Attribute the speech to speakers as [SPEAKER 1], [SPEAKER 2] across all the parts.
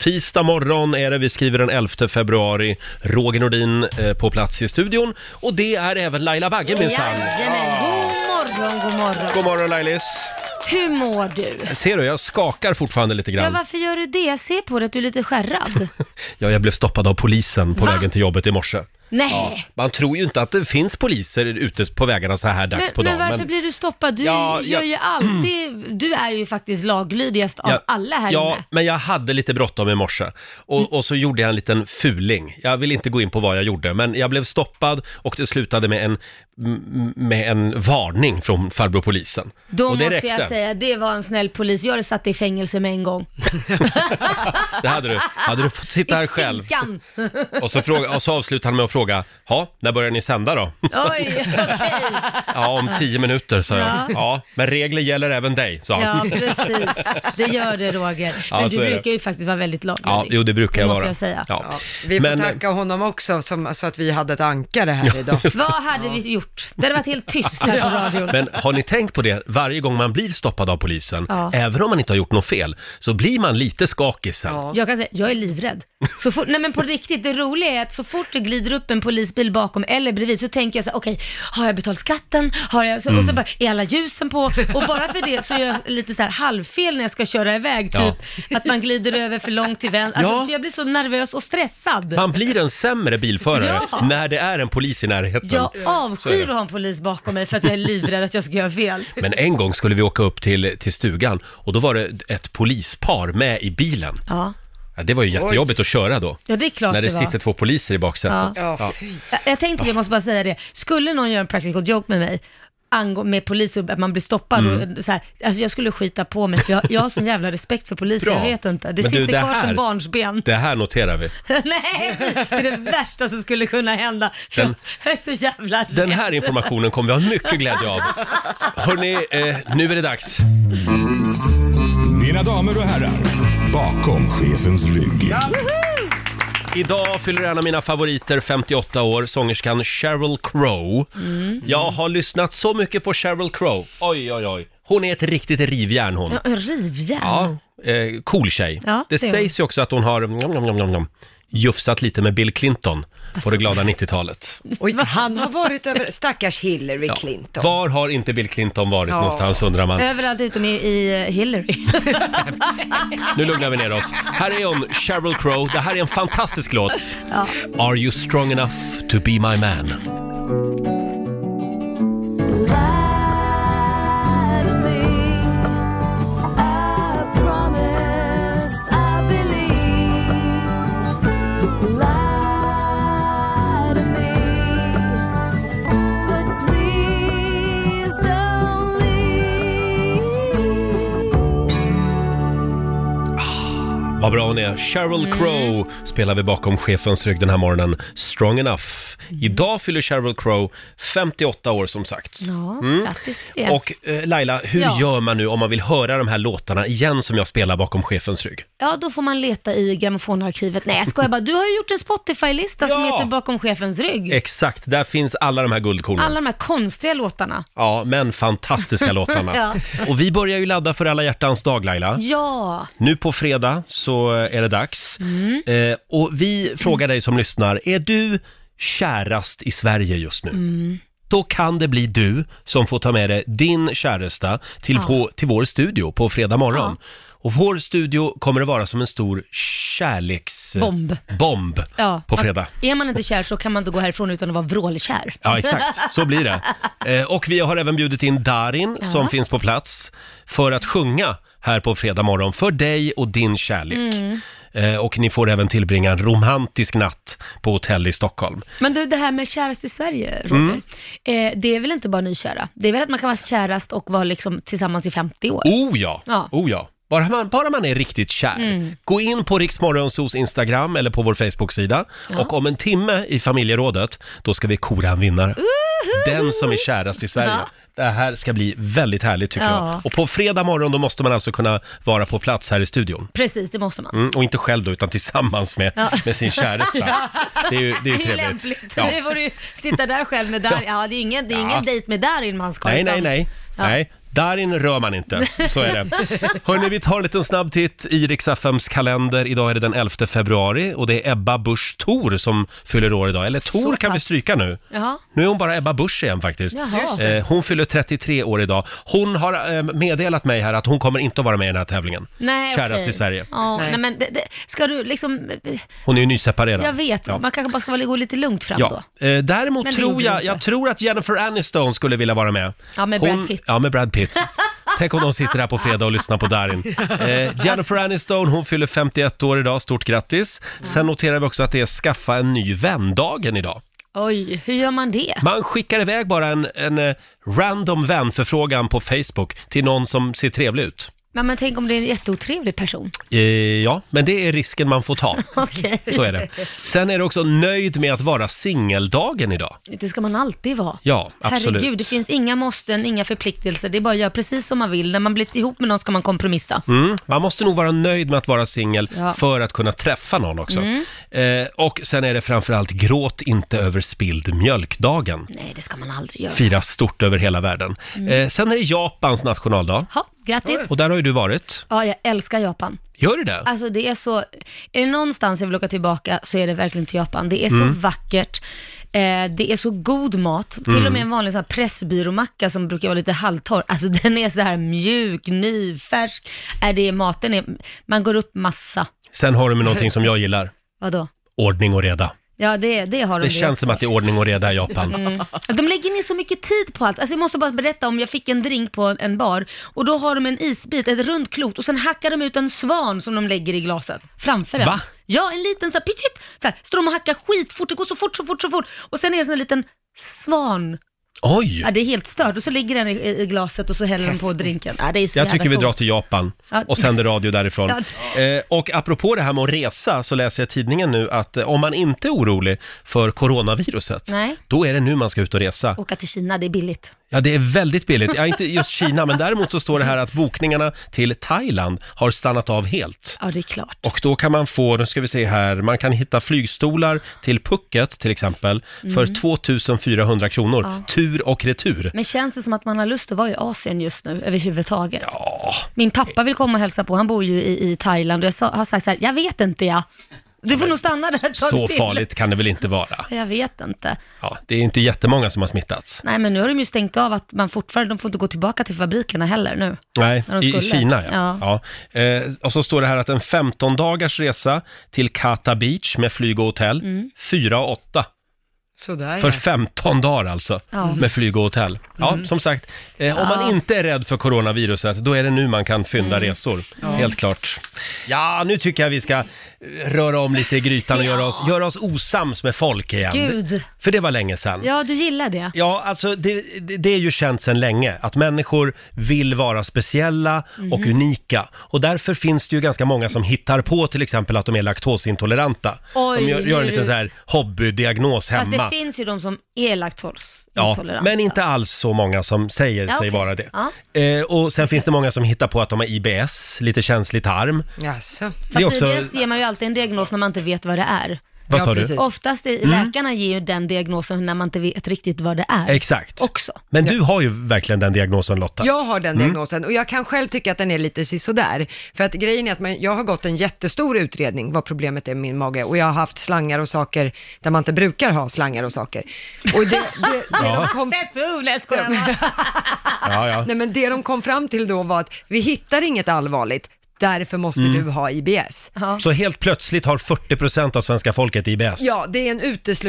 [SPEAKER 1] Tisdag morgon är det, vi skriver den 11 februari. Roger Nordin eh, på plats i studion. Och det är även Laila Bagge minsann.
[SPEAKER 2] Jajamän, god morgon, god morgon.
[SPEAKER 1] God morgon Lailis!
[SPEAKER 2] Hur mår du?
[SPEAKER 1] Ser du, jag skakar fortfarande lite
[SPEAKER 2] Ja,
[SPEAKER 1] grann.
[SPEAKER 2] varför gör du det? Jag ser på dig att du är lite skärrad.
[SPEAKER 1] Ja, jag blev stoppad av polisen på
[SPEAKER 2] Va?
[SPEAKER 1] vägen till jobbet i morse.
[SPEAKER 2] Nej!
[SPEAKER 1] Man tror ju inte att det finns poliser ute på vägarna så här dags på
[SPEAKER 2] men,
[SPEAKER 1] dagen.
[SPEAKER 2] men varför blir du stoppad? Du
[SPEAKER 1] Ja,
[SPEAKER 2] gör
[SPEAKER 1] jag-
[SPEAKER 2] ju alltid, du är ju faktiskt laglydigast av
[SPEAKER 1] Ja,
[SPEAKER 2] alla här
[SPEAKER 1] Ja,
[SPEAKER 2] inne. Mm.
[SPEAKER 1] men jag hade lite bråttom i morse och, och så gjorde jag en liten fuling. Jag vill inte gå in på vad jag gjorde, men jag blev stoppad och det slutade med en, m- med en varning från farbror polisen.
[SPEAKER 2] Då
[SPEAKER 1] och det
[SPEAKER 2] måste jag säga, det var en snäll polis. Jag hade satt dig i fängelse med en gång.
[SPEAKER 1] Det hade du. Hade du fått sitta här
[SPEAKER 2] I
[SPEAKER 1] själv.
[SPEAKER 2] finkan.
[SPEAKER 1] Och så, fråga, och så avslutade han med att fråga, ja, när börjar ni sända då?
[SPEAKER 2] Oj, okej.
[SPEAKER 1] Ja, om tio minuter, sa jag.
[SPEAKER 2] Ja.
[SPEAKER 1] Ja, men regler gäller även dig, sa han.
[SPEAKER 2] Ja, precis. Det gör det, Roger.
[SPEAKER 1] Ja,
[SPEAKER 2] Men
[SPEAKER 1] så
[SPEAKER 2] du
[SPEAKER 1] är det.
[SPEAKER 2] brukar ju faktiskt vara väldigt laglydig.
[SPEAKER 1] Ja, jo, det brukar jag
[SPEAKER 2] måste
[SPEAKER 1] vara.
[SPEAKER 2] jag säga.
[SPEAKER 1] Ja.
[SPEAKER 3] Ja, vi får
[SPEAKER 1] Men-
[SPEAKER 3] tacka honom också som, så att vi hade ett ankare här idag.
[SPEAKER 2] Vad hade vi gjort? Det hade varit helt tyst här på radion.
[SPEAKER 1] Men har ni tänkt på det, varje gång man blir stoppad av polisen,
[SPEAKER 2] Ja.
[SPEAKER 1] även om man inte har gjort något fel, så blir man lite skakig sen.
[SPEAKER 3] Ja.
[SPEAKER 2] Jag kan säga, jag är livrädd. Så fort, nej men på riktigt, det roliga är att så fort det glider upp en polisbil bakom eller bredvid så tänker jag så här, okej, har jag betalat skatten? Har jag, så, Och så
[SPEAKER 1] Mm.
[SPEAKER 2] bara, är alla ljusen på? Och bara för det så gör jag lite så här halvfel när jag ska köra iväg, typ att man glider över för långt till vänster. Alltså,
[SPEAKER 1] Ja.
[SPEAKER 2] för jag blir så nervös och stressad.
[SPEAKER 1] Man blir en sämre bilförare
[SPEAKER 2] Ja.
[SPEAKER 1] när det är en polis i närheten.
[SPEAKER 2] Jag
[SPEAKER 1] är det.
[SPEAKER 2] avskyr att ha en polis bakom mig för att jag är livrädd att jag ska göra fel.
[SPEAKER 1] Men en gång skulle vi åka upp till, till stugan och då var det ett polispar med i bilen.
[SPEAKER 2] Ja,
[SPEAKER 1] Ja, det var ju jättejobbigt att köra då.
[SPEAKER 2] ja det är klart
[SPEAKER 1] När det
[SPEAKER 2] det var.
[SPEAKER 1] sitter två poliser i baksätet.
[SPEAKER 2] Ja.
[SPEAKER 3] Ja, fy.
[SPEAKER 2] Jag, jag tänkte på det, jag måste bara säga det. Skulle någon göra en practical joke med mig, angå- med polis och att man blir stoppad
[SPEAKER 1] Mm.
[SPEAKER 2] och så här, alltså jag skulle skita på mig för jag, jag har sån jävla respekt för poliser,
[SPEAKER 1] Bra.
[SPEAKER 2] jag vet inte. Det
[SPEAKER 1] Men du,
[SPEAKER 2] sitter
[SPEAKER 1] det
[SPEAKER 2] kvar
[SPEAKER 1] här-
[SPEAKER 2] som barnsben.
[SPEAKER 1] Det här noterar vi.
[SPEAKER 2] Nej, det är det värsta som skulle kunna hända. För
[SPEAKER 1] Den-
[SPEAKER 2] jag är så jävla rädd.
[SPEAKER 1] Den här informationen kommer vi ha mycket glädje av. Hörni, eh, nu är det dags.
[SPEAKER 4] Mina damer och herrar, bakom chefens rygg.
[SPEAKER 1] Idag fyller en av mina favoriter 58 år, sångerskan Sheryl Crow. Jag har lyssnat så mycket på Sheryl Crow. Oj, oj, oj. Hon är ett riktigt rivjärn hon.
[SPEAKER 2] Ja, en Rivjärn.
[SPEAKER 1] Ja, eh, cool tjej.
[SPEAKER 2] Ja,
[SPEAKER 1] det
[SPEAKER 2] det är
[SPEAKER 1] sägs ju också att hon har mm, nom, nom, nom, nom, nom, jufsat lite med Bill Clinton på det glada 90-talet.
[SPEAKER 3] Oj, han har varit över, stackars Hillary
[SPEAKER 1] Ja.
[SPEAKER 3] Clinton.
[SPEAKER 1] Var har inte Bill Clinton varit
[SPEAKER 3] Ja.
[SPEAKER 1] någonstans undrar man.
[SPEAKER 2] Överallt utom i, i eh, Hillary.
[SPEAKER 1] Nu lugnar vi ner oss. Här är hon, Sheryl Crow. Det här är en fantastisk låt.
[SPEAKER 2] Ja.
[SPEAKER 1] Are you strong enough to be my man? Vad bra hon är. Sheryl Crow spelar vi bakom chefens rygg den här morgonen. Strong enough. Idag fyller Sheryl Crow 58 år som sagt.
[SPEAKER 2] Ja, grattis till det.
[SPEAKER 1] Mm. Och eh, Laila, hur
[SPEAKER 2] Ja.
[SPEAKER 1] gör man nu om man vill höra de här låtarna igen som jag spelar bakom chefens rygg?
[SPEAKER 2] Ja, då får man leta i grammofonarkivet. Nej, jag skojar bara. Du har ju gjort en Spotify-lista som
[SPEAKER 1] Ja.
[SPEAKER 2] heter Bakom chefens rygg.
[SPEAKER 1] Exakt, där finns alla de här guldkornen.
[SPEAKER 2] Alla de här konstiga låtarna.
[SPEAKER 1] Ja, men fantastiska låtarna.
[SPEAKER 2] Ja.
[SPEAKER 1] Och vi börjar ju ladda för alla hjärtans dag Laila.
[SPEAKER 2] Ja, Mm.
[SPEAKER 1] Nu på fredag så är det dags. Eh, och vi frågar dig som lyssnar, är du kärast i Sverige just nu?
[SPEAKER 2] Mm.
[SPEAKER 1] Då kan det bli du som får ta med dig din käresta till, vår, till vår studio på fredag morgon. Och vår studio kommer att vara som en stor kärleksbomb
[SPEAKER 2] Bomb.
[SPEAKER 1] bomb
[SPEAKER 2] ja.
[SPEAKER 1] på fredag.
[SPEAKER 2] Är man inte kär så kan man inte gå härifrån utan att vara vrålkär.
[SPEAKER 1] Ja, exakt. Så blir det. Eh, och vi har även bjudit in Darin som finns på plats för att sjunga här på fredag morgon för dig och din kärlek.
[SPEAKER 2] Mm.
[SPEAKER 1] Eh, och ni får även tillbringa en romantisk natt på hotell i Stockholm.
[SPEAKER 2] Men du, det här med kärast i Sverige, Roger.
[SPEAKER 1] Mm.
[SPEAKER 2] Eh, det är väl inte bara nykära? Det är väl att man kan vara kärast och vara liksom tillsammans i 50 år?
[SPEAKER 1] Oh ja!
[SPEAKER 2] Ja. Mm.
[SPEAKER 1] Oh ja. Bara man, bara man är riktigt kär. Gå in på Riksmorgonsos Instagram eller på vår Facebook-sida. Och om en timme i familjerådet, då ska vi kora en vinnare. Den som är kärast i Sverige.
[SPEAKER 2] Ja.
[SPEAKER 1] Det här ska bli väldigt härligt tycker
[SPEAKER 2] Ja.
[SPEAKER 1] jag. Och på fredag morgon då måste man alltså kunna vara på plats här i studion.
[SPEAKER 2] Precis, det måste man.
[SPEAKER 1] Mm, och inte själv då, utan tillsammans med, med sin käresta. Det är ju, det är ju
[SPEAKER 2] Det är ju
[SPEAKER 1] trevligt.
[SPEAKER 2] lämpligt.
[SPEAKER 1] Ja.
[SPEAKER 2] Det vore ju sitta där själv med Darin. Ja, det är ingen, det är ingen
[SPEAKER 1] Ja.
[SPEAKER 2] dejt med Darin man ska
[SPEAKER 1] Nej,
[SPEAKER 2] utan-
[SPEAKER 1] nej, nej. nej. Darin rör man inte, så är det. Hörni, vi tar en liten snabb titt i Riks-FMs kalender. Idag är det den 11 februari och det är Ebba Busch Thor som fyller år idag. Eller Thor kan vi stryka nu.
[SPEAKER 2] Jaha.
[SPEAKER 1] Nu är hon bara Ebba Busch igen faktiskt.
[SPEAKER 2] Jaha.
[SPEAKER 1] Eh, hon fyller 33 år idag. Hon har eh, meddelat mig här att hon kommer inte att vara med i den här tävlingen.
[SPEAKER 2] Nej,
[SPEAKER 1] Kärast
[SPEAKER 2] okej.
[SPEAKER 1] i Sverige.
[SPEAKER 2] Ja, nej.
[SPEAKER 3] Nej.
[SPEAKER 2] men det, det, ska du liksom...
[SPEAKER 1] Hon är ju nyseparerad.
[SPEAKER 2] Jag vet,
[SPEAKER 1] Ja.
[SPEAKER 2] man kanske bara ska vara- gå lite lugnt fram då.
[SPEAKER 1] Ja. Eh, däremot
[SPEAKER 2] Men det
[SPEAKER 1] tror
[SPEAKER 2] gjorde du
[SPEAKER 1] jag,
[SPEAKER 2] inte.
[SPEAKER 1] jag tror att Jennifer Aniston skulle vilja vara med.
[SPEAKER 2] Ja, med Brad Pitt.
[SPEAKER 1] Ja, med Brad Pitt. Tänk om de sitter här på fredag och lyssnar på Darin. Eh, Jennifer Aniston, hon fyller 51 år idag, stort grattis. Sen noterar vi också att det är skaffa en ny vän-dagen idag.
[SPEAKER 2] Oj, hur gör man det?
[SPEAKER 1] Man skickar iväg bara en, en eh, random vänförfrågan på Facebook till någon som ser trevlig ut.
[SPEAKER 2] Men, men tänk om det är en jätteotrevlig person.
[SPEAKER 1] Eh, ja, men det är risken man får ta.
[SPEAKER 2] Okej.
[SPEAKER 1] Så är det. Sen är det också nöjd med att vara singeldagen idag.
[SPEAKER 2] Det ska man alltid vara.
[SPEAKER 1] Ja, absolut.
[SPEAKER 2] Herregud, det finns inga måsten, inga förpliktelser. Det är bara att göra precis som man vill. När man blir ihop med någon ska man kompromissa.
[SPEAKER 1] Mm, man måste nog vara nöjd med att vara singel
[SPEAKER 2] Ja. Mm.
[SPEAKER 1] för att kunna träffa någon också. Eh, och sen är det framförallt gråt inte över spilld mjölkdagen.
[SPEAKER 2] Nej, det ska man aldrig göra. Mm.
[SPEAKER 1] Firas stort över hela världen. Eh, sen är det Japans nationaldag.
[SPEAKER 2] Ha, grattis.
[SPEAKER 1] Och där har ju du varit.
[SPEAKER 2] Ja, jag älskar Japan.
[SPEAKER 1] Gör du det?
[SPEAKER 2] Alltså det är så, är det någonstans jag vill åka tillbaka så är det verkligen till Japan. Det är så
[SPEAKER 1] Mm.
[SPEAKER 2] vackert, eh, det är så god mat.
[SPEAKER 1] Mm.
[SPEAKER 2] Till och med en vanlig sån här pressbyråmacka som brukar vara lite halvtorr, alltså den är så här mjuk, nyfärsk. Är det är- maten är, man går upp massa.
[SPEAKER 1] Sen har du med någonting som jag gillar.
[SPEAKER 2] Vadå?
[SPEAKER 1] Ordning och reda.
[SPEAKER 2] Ja, det, det har de
[SPEAKER 1] Det känns som att det är ordning och reda i Japan.
[SPEAKER 2] Mm. De lägger ner så mycket tid på allt. Alltså jag måste bara berätta om, jag fick en drink på en bar och då har de en isbit, ett runt klot och sen hackar de ut en svan som de lägger i glaset framför en.
[SPEAKER 1] Va?
[SPEAKER 2] Ja, en liten så här, pitchit, så här, står de och hackar skitfort, det går så fort, så fort, så fort och sen är det sån här liten svan.
[SPEAKER 1] Oj!
[SPEAKER 2] Ja, det är helt stört och så ligger den i, i glaset och så häller de på drinken. Ja, det är så
[SPEAKER 1] Jag
[SPEAKER 2] jävla
[SPEAKER 1] tycker vi drar
[SPEAKER 2] coolt.
[SPEAKER 1] till Japan
[SPEAKER 2] Ja.
[SPEAKER 1] och sänder radio därifrån.
[SPEAKER 2] Ja.
[SPEAKER 1] Eh, och apropå det här med att resa så läser jag i tidningen nu att eh, om man inte är orolig för coronaviruset,
[SPEAKER 2] Nej. Oh.
[SPEAKER 1] då är det nu man ska ut och resa.
[SPEAKER 2] Åka till Kina, det är billigt.
[SPEAKER 1] Ja, det är väldigt billigt. Ja, inte just Kina, men däremot så står det här att bokningarna till Thailand har stannat av helt.
[SPEAKER 2] Ja, det är klart.
[SPEAKER 1] Och då kan man få, nu ska vi se här, man kan hitta flygstolar till Phuket till exempel för 2400 kronor, tur och retur.
[SPEAKER 2] Mm. Men känns det som att man har lust att vara i Asien just nu överhuvudtaget?
[SPEAKER 1] Ja,
[SPEAKER 2] Min pappa vill komma och hälsa på, han bor ju i, i Thailand och jag sa, har sagt så här, jag vet inte jag. Du får nog stanna där ett tag
[SPEAKER 1] så
[SPEAKER 2] till.
[SPEAKER 1] farligt kan det väl inte vara.
[SPEAKER 2] Jag vet inte.
[SPEAKER 1] Ja, det är inte jättemånga som har smittats.
[SPEAKER 2] Nej men nu har de ju stängt av att man fortfarande, de får inte gå tillbaka till fabrikerna heller nu.
[SPEAKER 1] Nej,
[SPEAKER 2] När de
[SPEAKER 1] i, i
[SPEAKER 2] skulle.
[SPEAKER 1] Kina ja. ja.
[SPEAKER 2] Ja.
[SPEAKER 1] Eh, och så står det här att en 15 dagars resa till Kata Beach med flyg och hotell,
[SPEAKER 2] Mm.
[SPEAKER 1] 4 och 8.
[SPEAKER 3] Sådär
[SPEAKER 1] För
[SPEAKER 3] ja.
[SPEAKER 1] 15 dagar alltså,
[SPEAKER 2] Ja. Mm.
[SPEAKER 1] med flyg och hotell. Ja, som sagt, eh, om man
[SPEAKER 2] Ja. Mm.
[SPEAKER 1] inte är rädd för coronaviruset, då är det nu man kan fynda resor. Helt klart. Ja, nu tycker jag vi ska eh, röra om lite i grytan och göra oss, göra oss osams med folk igen.
[SPEAKER 2] Gud.
[SPEAKER 1] För det var länge sedan.
[SPEAKER 2] Ja, du gillar det.
[SPEAKER 1] Ja, alltså det, det, det är ju känt sedan länge att människor vill vara speciella och
[SPEAKER 2] Mhm.
[SPEAKER 1] unika. Och därför finns det ju ganska många som hittar på till exempel att de är laktosintoleranta.
[SPEAKER 2] Oj,
[SPEAKER 1] de gör, gör en
[SPEAKER 2] nu.
[SPEAKER 1] liten så här hobbydiagnos
[SPEAKER 2] Fast
[SPEAKER 1] hemma.
[SPEAKER 2] det finns ju de som är laktos
[SPEAKER 1] Ja,
[SPEAKER 2] intoleranta.
[SPEAKER 1] men inte alls så många som säger sig
[SPEAKER 2] okej.
[SPEAKER 1] vara det.
[SPEAKER 2] Ja.
[SPEAKER 1] Eh, och sen finns det många som hittar på att de har IBS, lite känslig tarm.
[SPEAKER 3] Jaså?
[SPEAKER 1] det är
[SPEAKER 2] Fast
[SPEAKER 1] också-
[SPEAKER 2] IBS ger man ju alltid en diagnos när man inte vet vad det är.
[SPEAKER 1] Vad
[SPEAKER 3] Ja,
[SPEAKER 1] sa du? Mm.
[SPEAKER 3] precis.
[SPEAKER 2] Oftast är, läkarna ger ju den diagnosen när man inte vet riktigt vad det är.
[SPEAKER 1] Exakt.
[SPEAKER 2] Också.
[SPEAKER 1] Men du har ju verkligen den diagnosen Lotta.
[SPEAKER 3] Jag har
[SPEAKER 1] Mm.
[SPEAKER 3] den diagnosen och jag kan själv tycka att den är lite sisådär. För att grejen är att man, jag har gått en jättestor utredning vad problemet är med min mage och jag har haft slangar och saker där man inte brukar ha slangar och saker. Och det, det, det,
[SPEAKER 1] Ja.
[SPEAKER 3] de kom,
[SPEAKER 2] Fetsu, nej jag skojar bara.
[SPEAKER 1] Ja, ja.
[SPEAKER 3] nej men det de kom fram till då var att vi hittar inget allvarligt, därför måste
[SPEAKER 1] Mm.
[SPEAKER 3] du ha IBS.
[SPEAKER 1] Så helt plötsligt har 40% av svenska folket IBS.
[SPEAKER 3] Ja, det är en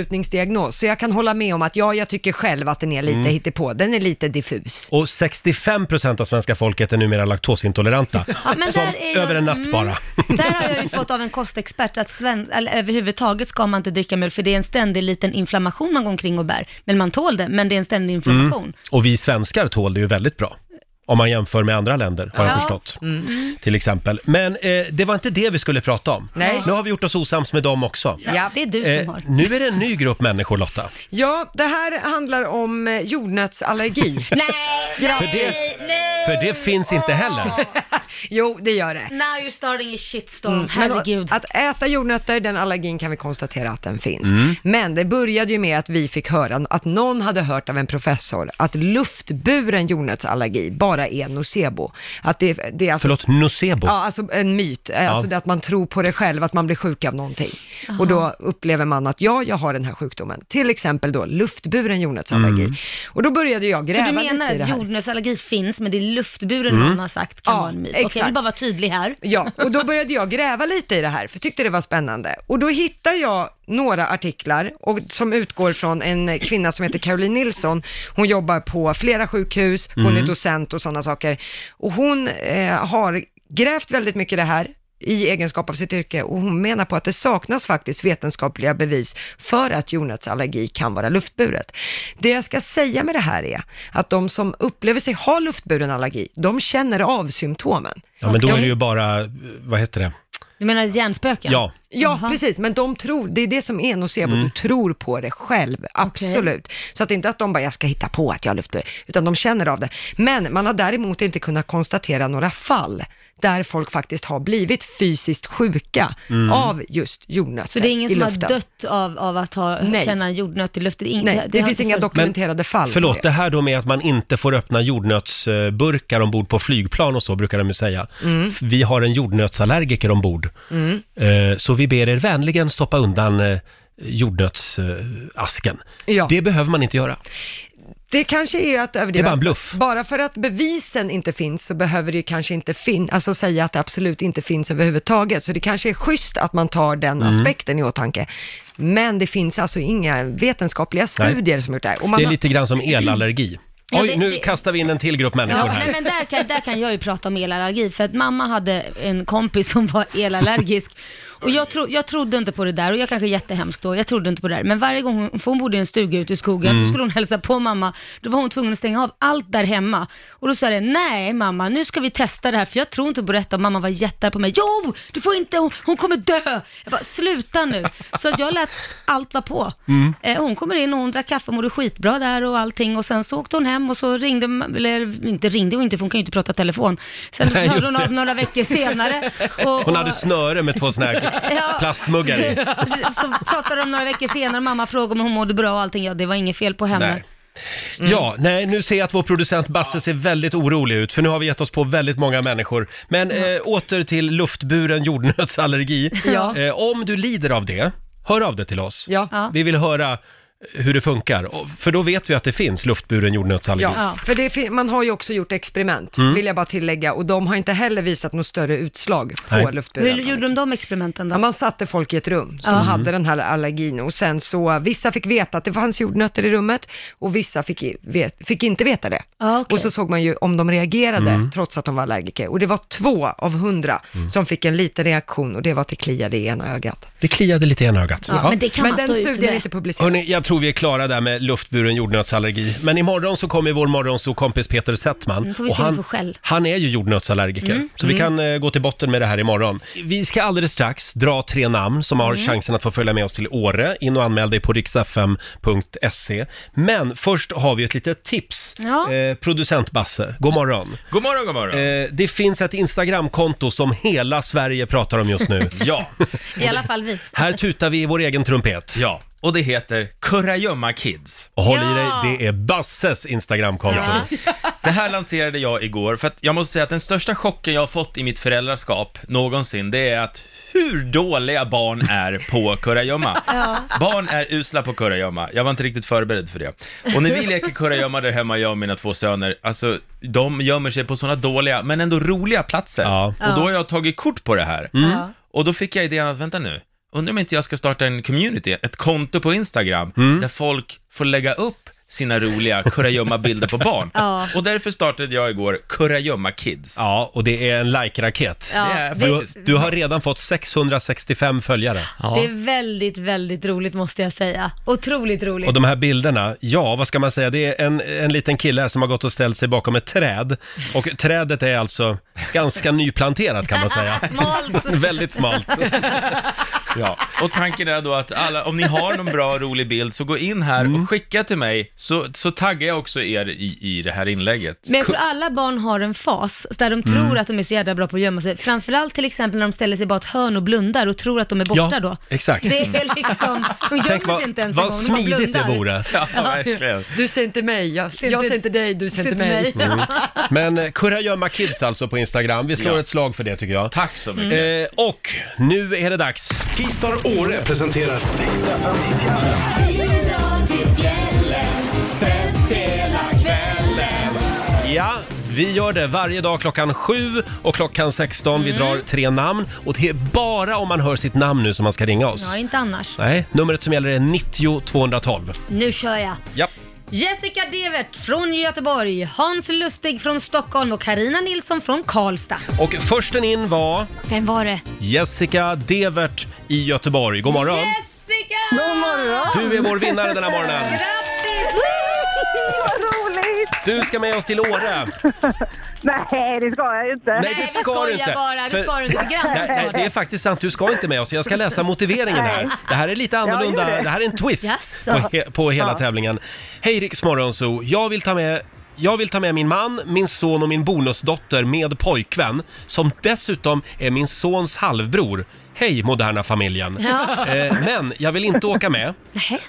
[SPEAKER 3] uteslutningsdiagnos, så jag kan hålla med om att ja, jag tycker själv att den är
[SPEAKER 1] Mm.
[SPEAKER 3] lite hittepå, den är lite diffus.
[SPEAKER 1] Och 65% av svenska folket är numera laktosintoleranta.
[SPEAKER 2] Ja, men
[SPEAKER 1] som
[SPEAKER 2] där är jag-
[SPEAKER 1] över en natt
[SPEAKER 2] mm.
[SPEAKER 1] bara.
[SPEAKER 2] Där har jag ju fått av en kostexpert att sven, eller, överhuvudtaget ska man inte dricka mjölk för det är en ständig liten inflammation man går omkring och bär. Men man tål det, men det är en ständig inflammation.
[SPEAKER 1] Mm. Och vi svenskar tål det ju väldigt bra. Om man jämför med andra länder, har jag
[SPEAKER 2] Ja. Mm.
[SPEAKER 1] förstått. Till exempel. Men eh, det var inte det vi skulle prata om.
[SPEAKER 3] Nej.
[SPEAKER 1] Nu har vi gjort oss osams med dem också.
[SPEAKER 3] Ja.
[SPEAKER 2] Det är du som
[SPEAKER 1] Eh,
[SPEAKER 2] har.
[SPEAKER 1] nu är det en ny grupp människor, Lotta.
[SPEAKER 3] Ja, det här handlar om eh, jordnötsallergi.
[SPEAKER 2] Nej,
[SPEAKER 1] För det,
[SPEAKER 2] nej.
[SPEAKER 1] för det finns inte heller.
[SPEAKER 3] jo, det gör det.
[SPEAKER 2] Now you're starting a shitstorm,
[SPEAKER 3] Mm. Men
[SPEAKER 2] herregud.
[SPEAKER 3] Att äta jordnötter, den allergin kan vi konstatera att den finns.
[SPEAKER 1] Mm.
[SPEAKER 3] Men det började ju med att vi fick höra att någon hade hört av en professor att luftburen jordnötsallergi bara bara är nocebo. Att det, det är alltså,
[SPEAKER 1] Förlåt, nocebo?
[SPEAKER 3] Ja, alltså en myt. Eh, Alltså det att man tror på det själv, att man blir sjuk av någonting. Och då upplever man att ja, jag har den här sjukdomen. Till exempel då luftburen jordnötsallergi.
[SPEAKER 1] Mm.
[SPEAKER 3] Och då började jag
[SPEAKER 2] Så
[SPEAKER 3] gräva
[SPEAKER 2] du
[SPEAKER 3] lite
[SPEAKER 2] menar
[SPEAKER 3] i det
[SPEAKER 2] att
[SPEAKER 3] här.
[SPEAKER 2] jordnötsallergi finns, men det är luftburen någon har sagt kan
[SPEAKER 3] Ja,
[SPEAKER 2] vara en myt? Okej, jag vill
[SPEAKER 3] exakt.
[SPEAKER 2] bara vara tydlig här.
[SPEAKER 3] Ja, och då började jag gräva lite i det här, för tyckte det var spännande. Och då hittade jag några artiklar och, som utgår från en kvinna som heter Caroline Nilsson. Hon jobbar på flera sjukhus, hon
[SPEAKER 1] Mm.
[SPEAKER 3] är docent och sådana saker. Och hon eh, har grävt väldigt mycket i det här i egenskap av sitt yrke och hon menar på att det saknas faktiskt vetenskapliga bevis för att jordnötsallergi kan vara luftburet. Det jag ska säga med det här är att de som upplever sig ha luftburen allergi, de känner av symptomen.
[SPEAKER 1] Ja, men då är det ju bara, eh, vad heter det?
[SPEAKER 2] Du menar hjärnspöken?
[SPEAKER 1] Ja. Mm.
[SPEAKER 3] Ja,
[SPEAKER 2] Jaha.
[SPEAKER 3] precis, men de tror, det är det som är nocebo, du tror på det själv, absolut. Så att det är inte att de bara, jag ska hitta på att jag har luftburet, utan de känner av det. Men man har däremot inte kunnat konstatera några fall där folk faktiskt har blivit fysiskt sjuka
[SPEAKER 1] Mm.
[SPEAKER 3] av just jordnötter
[SPEAKER 2] Så det är ingen
[SPEAKER 3] i
[SPEAKER 2] som
[SPEAKER 3] luften.
[SPEAKER 2] har dött av, av att ha,
[SPEAKER 3] Nej.
[SPEAKER 2] känna en jordnöt i luften? Ingen-
[SPEAKER 3] Nej, det,
[SPEAKER 2] har
[SPEAKER 3] finns
[SPEAKER 2] inte
[SPEAKER 3] inga
[SPEAKER 2] funnits.
[SPEAKER 3] dokumenterade fall. på
[SPEAKER 1] Förlåt,
[SPEAKER 3] det.
[SPEAKER 1] det här då med att man inte får öppna jordnötsburkar ombord på flygplan och så brukar de ju säga.
[SPEAKER 3] Mm.
[SPEAKER 1] F- Vi har en jordnötsallergiker ombord. Eh, Så vi ber er vänligen stoppa undan eh, jordnötsasken.
[SPEAKER 3] Ja.
[SPEAKER 1] Det behöver man inte göra.
[SPEAKER 3] Det kanske är att
[SPEAKER 1] Det
[SPEAKER 3] överdriva.
[SPEAKER 1] är bara en bluff.
[SPEAKER 3] Bara för att bevisen inte finns så behöver det ju kanske inte finnas, alltså säga att det absolut inte finns överhuvudtaget. Så det kanske är schysst att man tar den
[SPEAKER 1] Mm.
[SPEAKER 3] aspekten i åtanke. Men det finns alltså inga vetenskapliga studier som gjort det här. Och man
[SPEAKER 1] Det är
[SPEAKER 3] har-
[SPEAKER 1] lite grann som elallergi.
[SPEAKER 2] Ja,
[SPEAKER 1] Oj,
[SPEAKER 2] det-
[SPEAKER 1] nu
[SPEAKER 2] det-
[SPEAKER 1] kastar vi in en till grupp människor
[SPEAKER 2] Ja, nej,
[SPEAKER 1] här.
[SPEAKER 2] men där, kan, där kan jag ju prata om elallergi, för att mamma hade en kompis som var elallergisk. Och jag, tro, jag trodde inte på det där, och jag kanske är jättehemsk då, jag trodde inte på det där. Men varje gång hon, för hon bodde i en stuga ute i skogen,
[SPEAKER 1] Mm.
[SPEAKER 2] så skulle hon hälsa på mamma, då var hon tvungen att stänga av allt där hemma. Och då sa det, nej mamma, nu ska vi testa det här, för jag tror inte på detta. Och mamma var jättearg på mig, jo, du får inte, hon, hon kommer dö. Jag bara, sluta nu. Så att jag lät allt vara på.
[SPEAKER 1] Mm.
[SPEAKER 2] Eh, hon kommer in och hon drack kaffe och mådde skitbra där och allting och sen så åkte hon hem och så ringde, ma- eller inte ringde hon inte för hon kan ju inte prata telefon. Sen
[SPEAKER 1] Nej,
[SPEAKER 2] hörde
[SPEAKER 1] just
[SPEAKER 2] hon
[SPEAKER 1] det.
[SPEAKER 2] av några veckor senare. Och,
[SPEAKER 1] Hon hade
[SPEAKER 2] och-
[SPEAKER 1] snöre med två såna här
[SPEAKER 2] Ja.
[SPEAKER 1] plastmuggar i.
[SPEAKER 2] Så pratade de några veckor senare, mamma frågade om hon mådde bra och allting, ja det var inget fel på henne.
[SPEAKER 1] Nej.
[SPEAKER 2] Mm.
[SPEAKER 1] Ja, nej, nu ser jag att vår producent Basse ser väldigt orolig ut, för nu har vi gett oss på väldigt många människor. Men eh, åter till luftburen jordnötsallergi.
[SPEAKER 3] Ja.
[SPEAKER 1] Eh, om du lider av det, hör av dig till oss.
[SPEAKER 3] Ja.
[SPEAKER 2] Ja.
[SPEAKER 1] Vi vill höra eh, hur det funkar, Och- för då vet vi att det finns luftburen jordnötsallergi.
[SPEAKER 3] Ja,
[SPEAKER 2] Ja.
[SPEAKER 3] för det, fin- man har ju också gjort experiment,
[SPEAKER 1] Mm.
[SPEAKER 3] vill jag bara tillägga, och de har inte heller visat något större utslag på
[SPEAKER 1] Nej.
[SPEAKER 2] Hur
[SPEAKER 3] luftburen.
[SPEAKER 2] gjorde de de experimenten
[SPEAKER 3] Ja,
[SPEAKER 2] då?
[SPEAKER 3] man satte folk i ett rum som hade den här allergin och sen så, vissa fick veta att det fanns jordnötter i rummet och vissa fick, i- vet, fick inte veta det.
[SPEAKER 2] Ja, okej.
[SPEAKER 3] Och så såg man ju om de reagerade
[SPEAKER 1] Mm.
[SPEAKER 3] trots att de var allergiker. Och det var två av hundra som fick en liten reaktion och det var att det kliade i ena ögat.
[SPEAKER 1] Det kliade lite i ena ögat.
[SPEAKER 2] Ja,
[SPEAKER 1] Ja.
[SPEAKER 2] men det kan
[SPEAKER 3] Men
[SPEAKER 2] man
[SPEAKER 3] den
[SPEAKER 2] stå ut
[SPEAKER 3] studien är
[SPEAKER 2] med.
[SPEAKER 3] inte publicerad.
[SPEAKER 1] Hörrni, jag tror vi är klara där med luftburen jordnötsallergi. Men imorgon så kommer vår morgonsokompis Peter Settman.
[SPEAKER 2] Mm, får vi se om vi
[SPEAKER 1] han,
[SPEAKER 2] får skäll.
[SPEAKER 1] han är ju jordnötsallergiker,
[SPEAKER 2] Mm.
[SPEAKER 1] så vi kan eh, gå till botten med det här imorgon. Vi ska alldeles strax dra tre namn som har
[SPEAKER 2] Mm.
[SPEAKER 1] chansen att få följa med oss till Åre. In och anmäl dig på riksfm.se. Men först har vi ett litet tips.
[SPEAKER 2] Ja.
[SPEAKER 1] Eh, producent Basse, god morgon.
[SPEAKER 5] God morgon, god morgon.
[SPEAKER 1] Eh, det finns ett Instagramkonto som hela Sverige pratar om just nu.
[SPEAKER 5] Ja,
[SPEAKER 2] I alla fall vi.
[SPEAKER 1] Här tutar vi i vår egen trumpet.
[SPEAKER 5] ja. Och det heter Kurragömma Kids.
[SPEAKER 1] Och håll
[SPEAKER 2] Ja.
[SPEAKER 1] i dig, det är Basses Instagramkonto.
[SPEAKER 2] Ja.
[SPEAKER 5] Det här lanserade jag igår, för att jag måste säga att den största chocken jag har fått i mitt föräldraskap någonsin, det är att hur dåliga barn är på kurragömma. Barn är usla på kurragömma. Jag var inte riktigt förberedd för det. Och när vi leker kurragömma där hemma, jag och mina två söner, alltså de gömmer sig på sådana dåliga, men ändå roliga platser.
[SPEAKER 1] Ja.
[SPEAKER 5] Och då har jag tagit kort på det här.
[SPEAKER 2] Ja.
[SPEAKER 5] Och då fick jag idén att, vänta nu, undrar om inte jag ska starta en community, ett konto på Instagram, där folk får lägga upp sina roliga kurragömma-bilder på barn.
[SPEAKER 2] Ja.
[SPEAKER 5] Och därför startade jag igår Kurragömma Kids.
[SPEAKER 1] Ja, och det är en like-raket.
[SPEAKER 2] Ja,
[SPEAKER 5] Det är
[SPEAKER 2] vi-
[SPEAKER 1] Du, du har redan fått 665 följare.
[SPEAKER 5] Ja.
[SPEAKER 2] Det är väldigt, väldigt roligt måste jag säga. Otroligt roligt.
[SPEAKER 1] Och de här bilderna, ja vad ska man säga, det är en, en liten kille här som har gått och ställt sig bakom ett träd. Och trädet är alltså ganska nyplanterat kan man säga.
[SPEAKER 2] Smalt.
[SPEAKER 1] Väldigt smalt.
[SPEAKER 5] Ja, och tanken är då att alla, om ni har någon bra rolig bild så gå in här och skicka till mig så, så taggar jag också er i, i det här inlägget.
[SPEAKER 2] Men jag tror alla barn har en fas där de tror
[SPEAKER 1] Mm.
[SPEAKER 2] att de är så jävla bra på att gömma sig. Framförallt till exempel när de ställer sig bara ett hörn och blundar och tror att de är borta
[SPEAKER 1] Ja,
[SPEAKER 2] då.
[SPEAKER 1] exakt.
[SPEAKER 2] Det är liksom, de
[SPEAKER 1] Tänk
[SPEAKER 2] gömmer sig
[SPEAKER 1] vad,
[SPEAKER 2] inte ens en
[SPEAKER 1] vad
[SPEAKER 2] gång, de bara
[SPEAKER 1] smidigt det
[SPEAKER 2] blundar.
[SPEAKER 1] vore.
[SPEAKER 5] Ja, verkligen.
[SPEAKER 3] Du ser inte mig, jag ser, jag
[SPEAKER 2] inte-
[SPEAKER 3] ser inte dig, du ser inte mig.
[SPEAKER 1] Men eh, Kurragömma Kids alltså på Instagram. Vi slår
[SPEAKER 5] Ja.
[SPEAKER 1] ett slag för det tycker jag.
[SPEAKER 5] Tack så mycket.
[SPEAKER 1] Eh, och nu är det dags.
[SPEAKER 4] Skistar Åre presenterar
[SPEAKER 1] Ja, vi gör det varje dag klockan 7 och klockan 16. Vi drar tre namn och det är bara om man hör sitt namn nu som man ska ringa oss.
[SPEAKER 2] Ja, inte annars.
[SPEAKER 1] Nej, numret som gäller är 90 212.
[SPEAKER 2] Nu kör jag.
[SPEAKER 1] Ja.
[SPEAKER 2] Jessica Devert från Göteborg, Hans Lustig från Stockholm och Karina Nilsson från Karlstad.
[SPEAKER 1] Och försten in var
[SPEAKER 2] Vem var det?
[SPEAKER 1] Jessica Devert i Göteborg. God morgon!
[SPEAKER 2] Jessica!
[SPEAKER 1] Du är vår vinnare den här morgonen.
[SPEAKER 2] Grattis!
[SPEAKER 6] Vad roligt!
[SPEAKER 1] Du ska med oss till Åre.
[SPEAKER 6] Nej, det ska jag ju inte.
[SPEAKER 1] Nej,
[SPEAKER 2] Nej,
[SPEAKER 1] det ska du inte.
[SPEAKER 2] bara. Det
[SPEAKER 1] För-
[SPEAKER 2] ska du inte. Grannar
[SPEAKER 1] Nej,
[SPEAKER 2] ska
[SPEAKER 1] nej, det är
[SPEAKER 2] det.
[SPEAKER 1] faktiskt sant. Du ska inte med oss. Jag ska läsa motiveringen här. Det här är lite annorlunda.
[SPEAKER 6] gör
[SPEAKER 1] det.
[SPEAKER 6] det.
[SPEAKER 1] här är en twist
[SPEAKER 2] Jaså.
[SPEAKER 1] på, he- på hela tävlingen. Hej Riks Morgonzoo. Jag vill ta med jag vill ta med min man, min son och min bonusdotter med pojkvän som dessutom är min sons halvbror. Hej moderna familjen! Eh, men jag vill inte åka med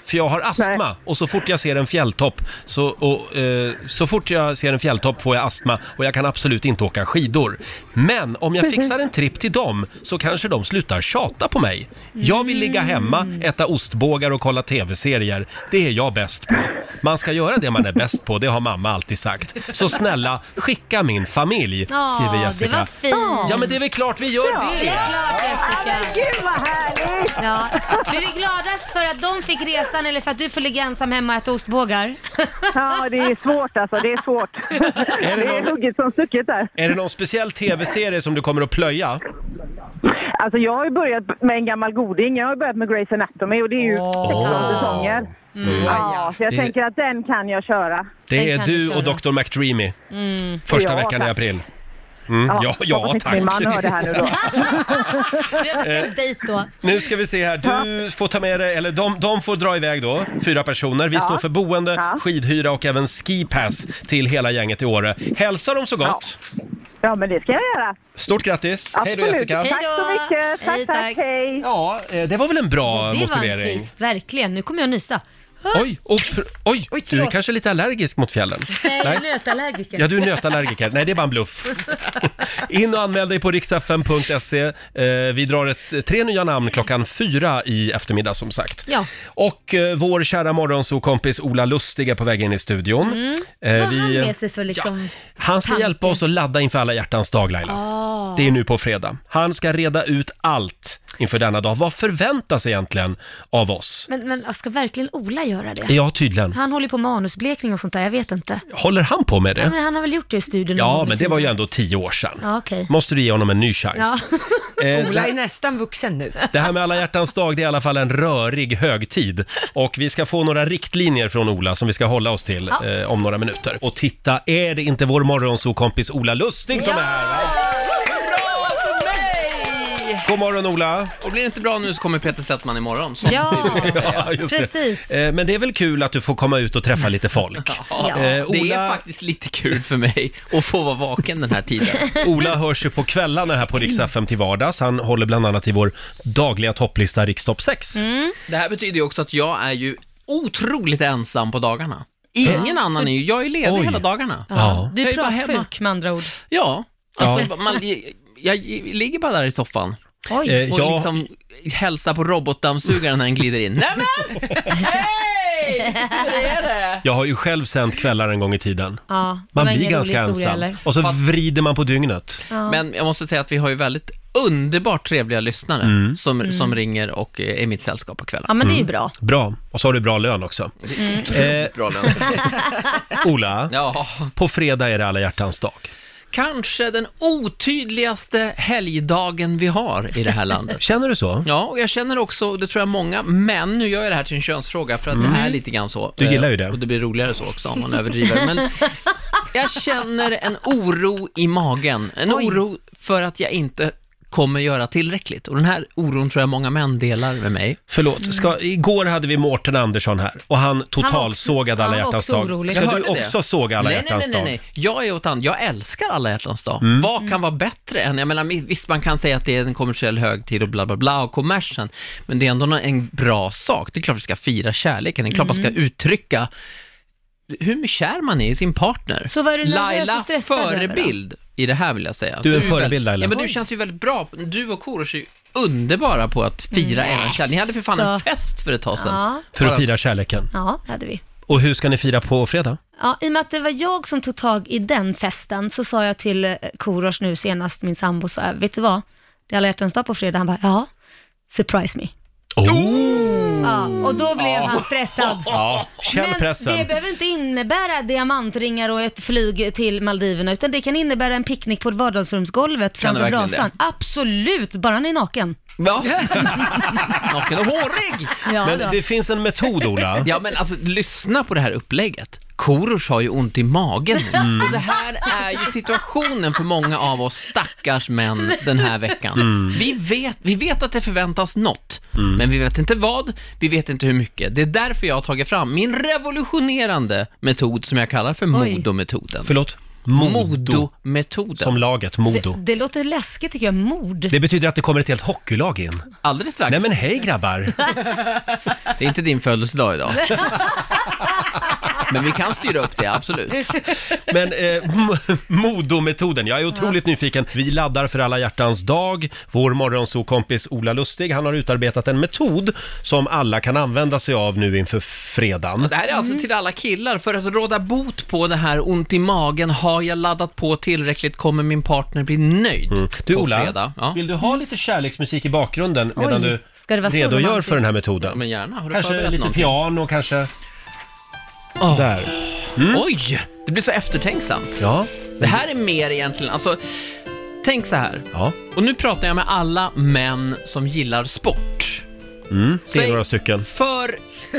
[SPEAKER 1] för jag har astma och så fort jag ser en fjälltopp så, och, eh, så fort jag ser en fjälltopp får jag astma och jag kan absolut inte åka skidor. Men om jag fixar en tripp till dem så kanske de slutar tjata på mig. Jag vill ligga hemma, äta ostbågar och kolla tv-serier. Det är jag bäst på. Man ska göra det man är bäst på, det har mamma alltid sagt. Så snälla, skicka min familj, skriver
[SPEAKER 2] Ja, det
[SPEAKER 1] Jessica.
[SPEAKER 2] var fint.
[SPEAKER 1] Ja men det är väl klart vi gör
[SPEAKER 2] Det
[SPEAKER 1] det!
[SPEAKER 2] är klart Jessica.
[SPEAKER 6] Gud vad härligt!
[SPEAKER 2] Ja. Blir du gladast för att de fick resan eller för att du får ligga ensam hemma och äta ostbågar?
[SPEAKER 6] Ja, det är svårt alltså. Det är svårt.
[SPEAKER 1] Är
[SPEAKER 6] Det
[SPEAKER 1] det
[SPEAKER 6] är
[SPEAKER 1] någon,
[SPEAKER 6] hugget som stucket där.
[SPEAKER 1] är det någon speciell tv-serie som du kommer att plöja?
[SPEAKER 6] Alltså jag har ju börjat med en gammal goding. Jag har ju börjat med Grey's Anatomy och det är ju 16 säsonger. Ja, så jag
[SPEAKER 1] Det-
[SPEAKER 6] tänker att den kan jag köra. Mm.
[SPEAKER 1] Det
[SPEAKER 2] Den
[SPEAKER 1] är
[SPEAKER 2] kan du
[SPEAKER 1] du och
[SPEAKER 2] köra. Mm.
[SPEAKER 1] Dr. McDreamy. Första
[SPEAKER 6] Ja,
[SPEAKER 1] veckan i
[SPEAKER 6] tack.
[SPEAKER 1] april. Mm, ja, ja,
[SPEAKER 6] hoppas inte
[SPEAKER 1] tack.
[SPEAKER 6] Min man hör det här nu då.
[SPEAKER 2] Vi har
[SPEAKER 1] Eh.
[SPEAKER 2] bestämt dejt då.
[SPEAKER 1] Nu ska vi se här, du får ta med dig, eller de, de får dra iväg då, fyra personer. Vi står för boende,
[SPEAKER 6] Ja.
[SPEAKER 1] skidhyra och även skipass till hela gänget i Åre. Hälsa dem så gott!
[SPEAKER 6] Ja, men det ska jag göra.
[SPEAKER 1] Stort grattis! Hej
[SPEAKER 6] Absolut.
[SPEAKER 1] då Jessica!
[SPEAKER 6] Tack
[SPEAKER 2] Hej då.
[SPEAKER 6] så mycket. Tack,
[SPEAKER 2] Hej,
[SPEAKER 6] tack.
[SPEAKER 2] tack.
[SPEAKER 6] Hej.
[SPEAKER 1] Ja, eh, det var väl en bra
[SPEAKER 2] Det var en
[SPEAKER 1] motivering?
[SPEAKER 2] twist, verkligen. Nu kommer jag nysa.
[SPEAKER 1] Oj, och, pr- oj,
[SPEAKER 2] Oj,
[SPEAKER 1] du är
[SPEAKER 2] förlåt.
[SPEAKER 1] kanske lite allergisk mot fjällen?
[SPEAKER 2] Nej, jag är nötallergiker.
[SPEAKER 1] Ja, du är nötallergiker. Nej, det är bara en bluff. In och anmäl dig på riksfm.se. Eh, Vi drar ett, tre nya namn klockan fyra i eftermiddag som sagt.
[SPEAKER 2] Ja.
[SPEAKER 1] Och eh, vår kära morgonsokompis Ola Lustig är på väg in i studion. Eh,
[SPEAKER 2] Mm. Vad har han med sig för liksom...
[SPEAKER 1] han ska
[SPEAKER 2] Tanke.
[SPEAKER 1] hjälpa oss att ladda inför alla hjärtans dag Laila.
[SPEAKER 2] Ah.
[SPEAKER 1] Det är nu på fredag. Han ska reda ut allt inför denna dag. Vad förväntas egentligen av oss?
[SPEAKER 2] Men, men ska verkligen Ola göra det?
[SPEAKER 1] Ja, tydligen.
[SPEAKER 2] Han håller ju på med manusblekning och sånt där, jag vet inte.
[SPEAKER 1] Håller han på med det?
[SPEAKER 2] Men han har väl gjort det i studion? någon
[SPEAKER 1] Ja,
[SPEAKER 2] gång i
[SPEAKER 1] men det var ju
[SPEAKER 2] tiden.
[SPEAKER 1] ändå tio år sedan.
[SPEAKER 2] Ja, okej.
[SPEAKER 1] Måste du ge honom en ny chans. Eh,
[SPEAKER 3] Ola är
[SPEAKER 1] det,
[SPEAKER 3] nästan vuxen nu.
[SPEAKER 1] det här med alla hjärtans dag, det är i alla fall en rörig högtid. Och vi ska få några riktlinjer från Ola som vi ska hålla oss till eh, om några minuter. Och titta, är det inte vår morgonsokompis Ola Lustig som
[SPEAKER 7] Liksom
[SPEAKER 2] Ja!
[SPEAKER 1] är här? va? God morgon Ola!
[SPEAKER 7] Och blir det inte bra nu så kommer Peter Settman imorgon. Så.
[SPEAKER 2] Ja,
[SPEAKER 1] Ja, just det.
[SPEAKER 2] precis.
[SPEAKER 1] Eh, Men det är väl kul att du får komma ut och träffa lite folk.
[SPEAKER 2] Ja.
[SPEAKER 1] Eh,
[SPEAKER 7] Det är
[SPEAKER 1] Ola,
[SPEAKER 7] faktiskt lite kul för mig att få vara vaken den här tiden.
[SPEAKER 1] Ola hörs ju på kvällarna här på Rix FM till vardags. Han håller bland annat i vår dagliga topplista Rikstopp 6.
[SPEAKER 7] Mm.
[SPEAKER 2] Mm.
[SPEAKER 7] Det här betyder ju också att jag är ju otroligt ensam på dagarna. Ingen annan är ju, jag är ledig
[SPEAKER 1] Oj.
[SPEAKER 7] hela dagarna.
[SPEAKER 1] Ja.
[SPEAKER 2] Du
[SPEAKER 7] Jag
[SPEAKER 2] är
[SPEAKER 7] är bara hemma.
[SPEAKER 2] pratsjuk med andra ord.
[SPEAKER 7] Ja, alltså
[SPEAKER 1] Ja.
[SPEAKER 7] Man, jag, jag ligger bara där i soffan
[SPEAKER 2] Oj.
[SPEAKER 1] Eh,
[SPEAKER 7] och
[SPEAKER 1] jag-
[SPEAKER 7] liksom hälsar på robotdammsugaren när den glider in. Nej, men!
[SPEAKER 1] Jag har ju själv sänt kvällar en gång i tiden.
[SPEAKER 2] Ja, det
[SPEAKER 1] Man
[SPEAKER 2] var
[SPEAKER 1] blir
[SPEAKER 2] ingen rolig
[SPEAKER 1] ganska
[SPEAKER 2] historia,
[SPEAKER 1] ensam.
[SPEAKER 2] eller?
[SPEAKER 1] Och så vrider man på dygnet.
[SPEAKER 7] Men jag måste säga att vi har ju väldigt underbart trevliga lyssnare
[SPEAKER 1] Mm.
[SPEAKER 7] Som, som ringer och eh, är mitt sällskap på kvällen.
[SPEAKER 2] Mm. Ja, men det är ju bra.
[SPEAKER 1] Bra. Och så har du bra lön också. Eh,
[SPEAKER 7] Bra lön.
[SPEAKER 1] Ola,
[SPEAKER 7] Ja,
[SPEAKER 1] på fredag är det alla hjärtans dag.
[SPEAKER 7] kanske den otydligaste helgdagen vi har i det här landet.
[SPEAKER 1] Känner du så?
[SPEAKER 7] Ja, och jag känner också, och det tror jag många, men nu gör jag det här till en könsfråga för att det är lite grann så.
[SPEAKER 1] Mm. Du
[SPEAKER 7] Eh,
[SPEAKER 1] gillar ju det.
[SPEAKER 7] Och det blir roligare så också om man överdriver. Men jag känner en oro i magen, en oro för att jag inte kommer göra tillräckligt. Och den här oron tror jag många män delar med mig. Mm.
[SPEAKER 1] Förlåt, ska, igår hade vi Mårten Andersson här och han totalsågade
[SPEAKER 2] han
[SPEAKER 1] alla
[SPEAKER 2] var
[SPEAKER 1] hjärtans
[SPEAKER 2] också
[SPEAKER 1] dag.
[SPEAKER 2] orolig.
[SPEAKER 1] Ska
[SPEAKER 7] Jag
[SPEAKER 1] du
[SPEAKER 7] hörde det.
[SPEAKER 1] också såga alla
[SPEAKER 7] nej, nej,
[SPEAKER 1] hjärtans
[SPEAKER 7] nej, nej,
[SPEAKER 1] dag?
[SPEAKER 7] nej. Jag är åt and- Jag älskar alla hjärtans dag.
[SPEAKER 1] Mm.
[SPEAKER 7] Vad
[SPEAKER 2] Mm.
[SPEAKER 7] kan vara bättre än, jag menar visst man kan säga att det är en kommersiell högtid och bla bla bla och kommersen, men det är ändå nå- en bra sak. Det är klart vi ska fira kärleken, det är klart
[SPEAKER 2] Mm.
[SPEAKER 7] man ska uttrycka hur kär man är i sin partner.
[SPEAKER 2] Så vad är du nervös
[SPEAKER 7] Laila
[SPEAKER 2] och stressad över då?
[SPEAKER 7] förebild i det här vill jag säga.
[SPEAKER 1] Du är en
[SPEAKER 7] ju väl-
[SPEAKER 1] förebild, Laila.
[SPEAKER 7] Ja men du känns ju väldigt bra, du och Korosh är ju underbara på att fira er kärlek. Ni hade för fan en
[SPEAKER 2] Nästa.
[SPEAKER 7] fest för ett tag sedan.
[SPEAKER 2] Mm. Ja,
[SPEAKER 1] För att fira kärleken.
[SPEAKER 2] ja, det hade vi.
[SPEAKER 1] Och hur ska ni fira på fredag?
[SPEAKER 2] Ja, I och med att det var jag som tog tag i den festen så sa jag till eh, Korosh nu senast, min sambo, så här, vet du vad? Det är alla hjärtans dag på fredag. Han bara, ja, surprise me. Ja, och då blev han stressad.
[SPEAKER 1] Oh! Ja, känn
[SPEAKER 2] Men det
[SPEAKER 1] pressen.
[SPEAKER 2] behöver inte innebära diamantringar och ett flyg till Maldiverna, utan det kan innebära en picknick på vardagsrumsgolvet
[SPEAKER 7] Kan det
[SPEAKER 2] framför
[SPEAKER 7] verkligen
[SPEAKER 2] brasan. Absolut, bara han är naken.
[SPEAKER 7] Ja. Naken och hårig!
[SPEAKER 2] Ja,
[SPEAKER 1] Men
[SPEAKER 2] då.
[SPEAKER 1] det finns en metod, Ola.
[SPEAKER 7] Ja men alltså lyssna på det här upplägget. Korosh har ju ont i magen nu.
[SPEAKER 2] Mm.
[SPEAKER 7] Och Alltså, det här är ju situationen för många av oss stackars män den här veckan.
[SPEAKER 1] Mm.
[SPEAKER 7] Vi, vet, vi vet att det förväntas något, men vi vet inte vad, vi vet inte hur mycket. Det är därför jag har tagit fram min revolutionerande metod som jag kallar för
[SPEAKER 2] Oj.
[SPEAKER 7] Modometoden.
[SPEAKER 1] Förlåt? Modo.
[SPEAKER 7] Modometoden.
[SPEAKER 1] Som laget, Modo.
[SPEAKER 2] Det låter läskigt tycker jag, mord.
[SPEAKER 1] Det betyder att det kommer ett helt hockeylag in.
[SPEAKER 7] Alldeles strax.
[SPEAKER 1] Nej men hej grabbar!
[SPEAKER 7] Det är inte din födelsedag idag. men vi kan styra upp det, absolut.
[SPEAKER 1] Men eh, m- Modo-metoden, jag är otroligt nyfiken. Vi laddar för alla hjärtans dag. Vår morgonsokompis Ola Lustig, han har utarbetat en metod som alla kan använda sig av nu inför fredagen.
[SPEAKER 7] Det här är alltså
[SPEAKER 2] Mm.
[SPEAKER 7] till alla killar. För att råda bot på det här ont i magen, har jag laddat på tillräckligt, kommer min partner bli nöjd?
[SPEAKER 1] Mm. Du
[SPEAKER 7] på
[SPEAKER 1] Ola,
[SPEAKER 7] fredag. Ja.
[SPEAKER 1] vill du ha lite kärleksmusik i bakgrunden medan du
[SPEAKER 2] ska det vara så
[SPEAKER 1] redogör
[SPEAKER 2] romantiskt?
[SPEAKER 1] för den här
[SPEAKER 7] Ja,
[SPEAKER 1] metoden?
[SPEAKER 7] Men gärna, har du
[SPEAKER 1] Kanske
[SPEAKER 7] förberett
[SPEAKER 1] lite
[SPEAKER 7] någonting?
[SPEAKER 1] piano, kanske...
[SPEAKER 7] Åh.
[SPEAKER 1] Där.
[SPEAKER 7] Oj, det blir så eftertänksamt.
[SPEAKER 1] Mm. Ja,
[SPEAKER 7] Det här är mer egentligen, alltså, tänk så här.
[SPEAKER 1] ja.
[SPEAKER 7] Och nu pratar jag med alla män som gillar sport.
[SPEAKER 1] Mm, det är
[SPEAKER 7] Säg-
[SPEAKER 1] några stycken.
[SPEAKER 7] För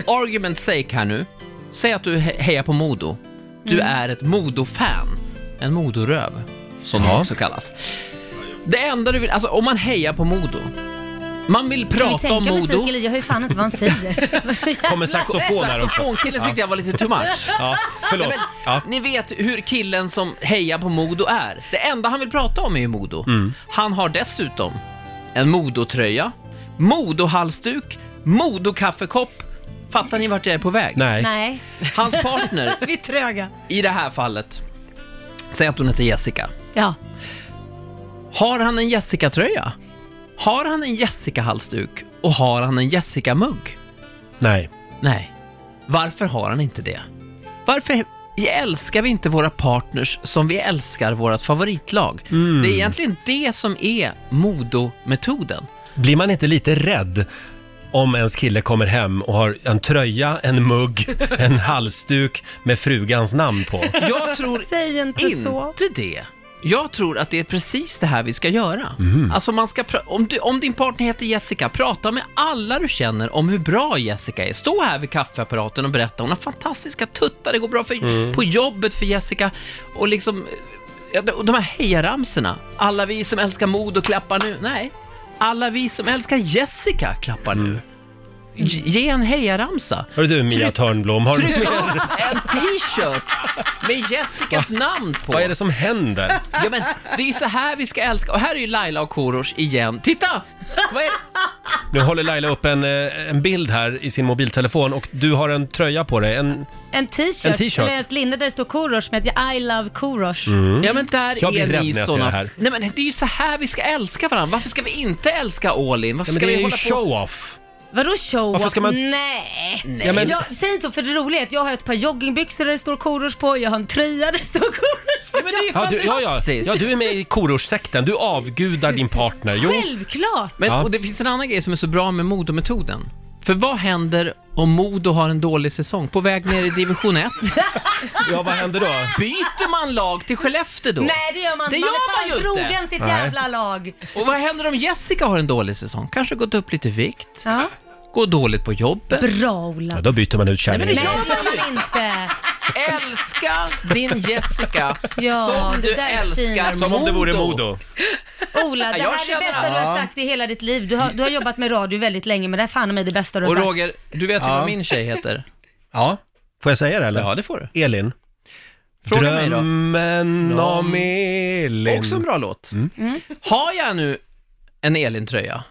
[SPEAKER 7] argument's sake här nu, säg att du he- hejar på Modo.
[SPEAKER 2] Mm.
[SPEAKER 7] Du är ett Modo-fan. En Modoröv, som
[SPEAKER 1] Ja.
[SPEAKER 7] det också kallas. Det enda du vill, alltså om man hejar på Modo, man vill
[SPEAKER 2] Kan vi
[SPEAKER 7] prata om
[SPEAKER 2] sänka
[SPEAKER 7] Modo.
[SPEAKER 2] musiken lite? Jag hör ju fan inte vad han säger.
[SPEAKER 1] Kommer saxofon här också.
[SPEAKER 7] Saxofonkillen tyckte jag var lite too much.
[SPEAKER 1] Ja, förlåt.
[SPEAKER 7] Nej, men,
[SPEAKER 1] Ja.
[SPEAKER 7] Ni vet hur killen som hejar på Modo är. Det enda han vill prata om är ju Modo.
[SPEAKER 1] Mm.
[SPEAKER 7] Han har dessutom en Modo-tröja, Modo-halsduk, Modo-kaffekopp. Fattar ni vart jag är på väg?
[SPEAKER 1] Nej.
[SPEAKER 2] Nej,
[SPEAKER 7] Hans partner,
[SPEAKER 2] vi är tröga.
[SPEAKER 7] i det här fallet, säg att hon heter Jessica.
[SPEAKER 2] Ja,
[SPEAKER 7] Har han en Jessica-tröja? Har han en Jessica-halsduk? Och har han en Jessica-mugg?
[SPEAKER 1] Nej.
[SPEAKER 7] Nej. Varför har han inte det? Varför älskar vi inte våra partners som vi älskar vårt favoritlag? Det är egentligen det som är Modo-metoden.
[SPEAKER 1] Blir man inte lite rädd om ens kille kommer hem och har en tröja, en mugg, en halsduk med frugans namn på?
[SPEAKER 7] Jag tror
[SPEAKER 2] säg inte så.
[SPEAKER 7] inte det. Jag tror att det är precis det här vi ska göra.
[SPEAKER 1] Mhm.
[SPEAKER 7] Alltså man ska pra- om, du, om din partner heter Jessica, prata med alla du känner om hur bra Jessica är. Stå här vid kaffeapparaten och berätta, hon har fantastiska tuttar, det går bra för,
[SPEAKER 1] Mm.
[SPEAKER 7] på jobbet för Jessica. Och liksom, ja, de- och de här hejaramsorna, alla vi som älskar mod och klappar nu. Nej, alla vi som älskar Jessica klappar nu. Ge- Ge en hejaramsa.
[SPEAKER 1] Mm. Hör du Mia
[SPEAKER 7] Tryck-
[SPEAKER 1] Törnblom, har du
[SPEAKER 7] Tryck
[SPEAKER 1] mer?
[SPEAKER 7] upp en t-shirt med Jessicas namn på.
[SPEAKER 1] Vad är det som händer?
[SPEAKER 7] Ja, men det är ju så här vi ska älska. Och här är ju Laila och Korosh igen. Titta! Vad är...
[SPEAKER 1] Nu håller Laila upp en, eh, en bild här i sin mobiltelefon och du har en tröja på dig. En,
[SPEAKER 2] En
[SPEAKER 1] En
[SPEAKER 2] t-shirt,
[SPEAKER 1] t-shirt.
[SPEAKER 2] eller ett linne där det står Korosh med att I love Korosh.
[SPEAKER 7] Mm. Ja men där
[SPEAKER 1] Jag blir
[SPEAKER 7] är
[SPEAKER 1] rädd
[SPEAKER 7] ni
[SPEAKER 1] när jag ser
[SPEAKER 7] såna...
[SPEAKER 1] det här.
[SPEAKER 7] Nej men det är ju så här vi ska älska varandra. Varför ska vi inte älska All-In? Varför
[SPEAKER 1] ja, men
[SPEAKER 7] ska
[SPEAKER 1] det
[SPEAKER 7] vi
[SPEAKER 1] är ju
[SPEAKER 7] hålla på...
[SPEAKER 1] show-off.
[SPEAKER 2] Vadå Mm, show
[SPEAKER 1] Varför ska man-
[SPEAKER 2] Nej.
[SPEAKER 1] Ja, men-
[SPEAKER 2] jag, säg inte så, för det roliga är att jag har ett par joggingbyxor där det står Korosh på, jag har en tröja där det står Korosh på.
[SPEAKER 7] Ja, men det är ju
[SPEAKER 1] Ja, du,
[SPEAKER 7] fantastiskt!
[SPEAKER 1] ja, ja, ja, du är med i kororssekten. Du avgudar din partner. Jo,
[SPEAKER 2] Självklart!
[SPEAKER 7] Men,
[SPEAKER 1] Ja.
[SPEAKER 7] Och det finns en annan grej som är så bra med Modometoden. För vad händer om Modo har en dålig säsong? På väg ner i division 1?
[SPEAKER 1] ja, vad händer då?
[SPEAKER 7] Byter man lag till Skellefteue då?
[SPEAKER 2] Nej det gör man
[SPEAKER 7] Det
[SPEAKER 2] inte, man
[SPEAKER 7] gör
[SPEAKER 2] är
[SPEAKER 7] man
[SPEAKER 2] fan
[SPEAKER 7] ju inte.
[SPEAKER 2] trogen sitt
[SPEAKER 1] Nej.
[SPEAKER 2] jävla lag.
[SPEAKER 7] Och vad händer om Jessica har en dålig säsong? Kanske gått upp lite vikt?
[SPEAKER 2] Ja.
[SPEAKER 7] Går dåligt på jobbet?
[SPEAKER 2] Bra
[SPEAKER 1] Ja,
[SPEAKER 2] Ola.
[SPEAKER 1] då byter man ut
[SPEAKER 7] men
[SPEAKER 1] kärringen.
[SPEAKER 2] Nej det gör man inte.
[SPEAKER 7] Älska din Jessica
[SPEAKER 2] Ja,
[SPEAKER 7] som
[SPEAKER 2] det
[SPEAKER 7] du
[SPEAKER 2] där är
[SPEAKER 7] älskar
[SPEAKER 2] fint.
[SPEAKER 1] Som om det vore Modo.
[SPEAKER 2] Ola, det
[SPEAKER 7] Jag
[SPEAKER 2] här är det
[SPEAKER 7] känner-
[SPEAKER 2] bästa du har sagt i hela ditt liv. Du har, du har jobbat med radio väldigt länge, men det här är fan mig det bästa du har
[SPEAKER 7] Och
[SPEAKER 2] sagt.
[SPEAKER 7] Roger, du vet ju
[SPEAKER 1] Ja.
[SPEAKER 7] vad min tjej heter?
[SPEAKER 1] Ja, får jag säga det eller?
[SPEAKER 7] Ja, det får du.
[SPEAKER 1] Elin.
[SPEAKER 7] Fråga mig då.
[SPEAKER 1] Drömmen om
[SPEAKER 7] Om-
[SPEAKER 1] Elin. Mm.
[SPEAKER 7] Också en bra låt.
[SPEAKER 2] Mm.
[SPEAKER 7] Har jag nu en Elin-tröja?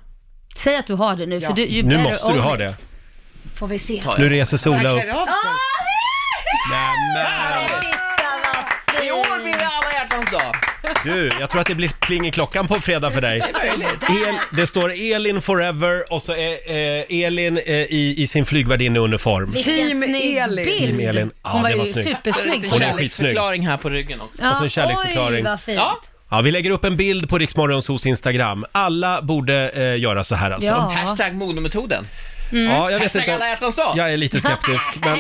[SPEAKER 2] Säg att du har det nu, för du, you
[SPEAKER 1] Nu
[SPEAKER 2] better
[SPEAKER 1] måste du
[SPEAKER 2] own
[SPEAKER 1] ha
[SPEAKER 2] it.
[SPEAKER 1] det.
[SPEAKER 2] Får vi se.
[SPEAKER 7] Tar
[SPEAKER 1] Nu
[SPEAKER 7] jag.
[SPEAKER 1] reser sig Ola upp.
[SPEAKER 3] klär av sig.
[SPEAKER 1] Nämen!
[SPEAKER 7] I år blir det alla hjärtans dag.
[SPEAKER 1] Du, jag tror att det blir pling i klockan på fredag för dig. El, det står Elin forever och så är eh, Elin eh, i, i sin flygvärdinneuniform.
[SPEAKER 2] Vilken
[SPEAKER 3] Team
[SPEAKER 2] snygg
[SPEAKER 3] Elin.
[SPEAKER 1] Team
[SPEAKER 2] bild!
[SPEAKER 1] Elin. Ja,
[SPEAKER 2] Hon var
[SPEAKER 1] det var
[SPEAKER 2] ju
[SPEAKER 1] snyggt.
[SPEAKER 2] supersnygg.
[SPEAKER 1] Hon är
[SPEAKER 7] Lite
[SPEAKER 1] skitsnygg.
[SPEAKER 7] Förklaring här på ryggen också.
[SPEAKER 2] Ja,
[SPEAKER 1] Och så en kärleksförklaring.
[SPEAKER 2] Oj, vad fint.
[SPEAKER 7] Ja.
[SPEAKER 1] Ja, vi lägger upp en bild på Riksmorgons hos Instagram. Alla borde eh, göra så här alltså.
[SPEAKER 2] Ja. Mm.
[SPEAKER 7] Hashtag modometoden.
[SPEAKER 1] Ja, jag vet
[SPEAKER 7] Hashtag alla
[SPEAKER 1] inte.
[SPEAKER 7] hjärtans dag.
[SPEAKER 1] Jag är lite skeptisk, men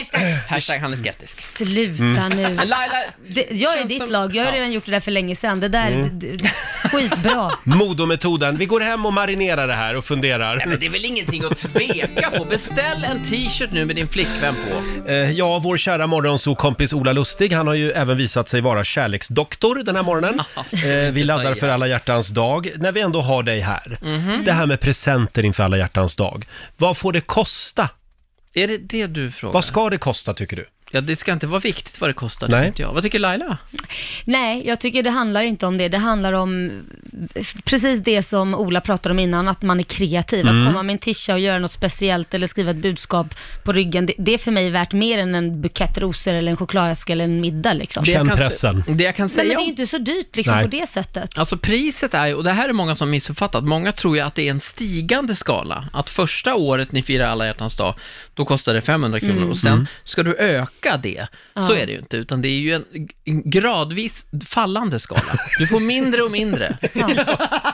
[SPEAKER 7] Hashtag han är skeptisk.
[SPEAKER 2] Sluta
[SPEAKER 1] Mm.
[SPEAKER 2] nu.
[SPEAKER 7] Men Laila,
[SPEAKER 2] Det, jag är
[SPEAKER 7] känns
[SPEAKER 2] ditt
[SPEAKER 7] som-
[SPEAKER 2] lag, jag har
[SPEAKER 7] Ja.
[SPEAKER 2] redan gjort det där för länge sedan. Det där,
[SPEAKER 1] Mm.
[SPEAKER 2] d- d- skitbra.
[SPEAKER 1] Modometoden. Vi går hem och marinerar det här och
[SPEAKER 7] Nej,
[SPEAKER 1] funderar.
[SPEAKER 7] men det är väl ingenting att tveka på. Beställ en t-shirt nu med din flickvän på.
[SPEAKER 1] Eh, Ja, vår kära morgonsokompis Ola Lustig, han har ju även visat sig vara kärleksdoktor den här morgonen. Eh, Vi laddar för alla hjärtans dag. När vi ändå har dig här, det här med presenter inför alla hjärtans dag. Vad får det kosta?
[SPEAKER 7] Är det det du frågar?
[SPEAKER 1] Vad ska det kosta tycker du?
[SPEAKER 7] Ja, det ska inte vara viktigt vad det kostar,
[SPEAKER 1] Nej.
[SPEAKER 7] tycker inte jag. Vad tycker Laila?
[SPEAKER 2] Nej, jag tycker det handlar inte om det. Det handlar om precis det som Ola pratade om innan, att man är kreativ.
[SPEAKER 1] Mm.
[SPEAKER 2] Att komma med en tisha och göra något speciellt eller skriva ett budskap på ryggen, det, det är för mig värt mer än en bukett rosor eller en chokladask eller en middag liksom.
[SPEAKER 1] Känn
[SPEAKER 7] jag kan se-
[SPEAKER 1] pressen.
[SPEAKER 7] Det jag kan
[SPEAKER 2] Nej, men
[SPEAKER 7] säga
[SPEAKER 2] det är
[SPEAKER 7] om
[SPEAKER 2] ju inte så dyrt liksom
[SPEAKER 1] Nej.
[SPEAKER 2] på det sättet.
[SPEAKER 7] Alltså priset är ju, och det här är många som missuppfattat, många tror ju att det är en stigande skala. Att första året ni firar alla hjärtans dag, då kostar det 500 kronor och sen ska du öka det. Så är det ju inte, utan det är ju en, en gradvis fallande skala. Du får mindre och mindre. Nej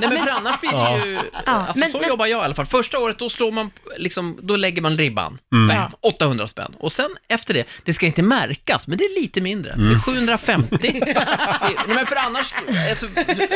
[SPEAKER 7] men för annars blir det ju, alltså
[SPEAKER 2] men-
[SPEAKER 7] så
[SPEAKER 2] men-
[SPEAKER 7] jobbar jag i alla fall. Första året då slår man, liksom, då lägger man ribban.
[SPEAKER 1] Mm.
[SPEAKER 7] Fem, 800 spänn. Och sen efter det, det ska inte märkas, men det är lite mindre.
[SPEAKER 1] Mm.
[SPEAKER 7] Det är 750. det, är- nej, men för annars, alltså,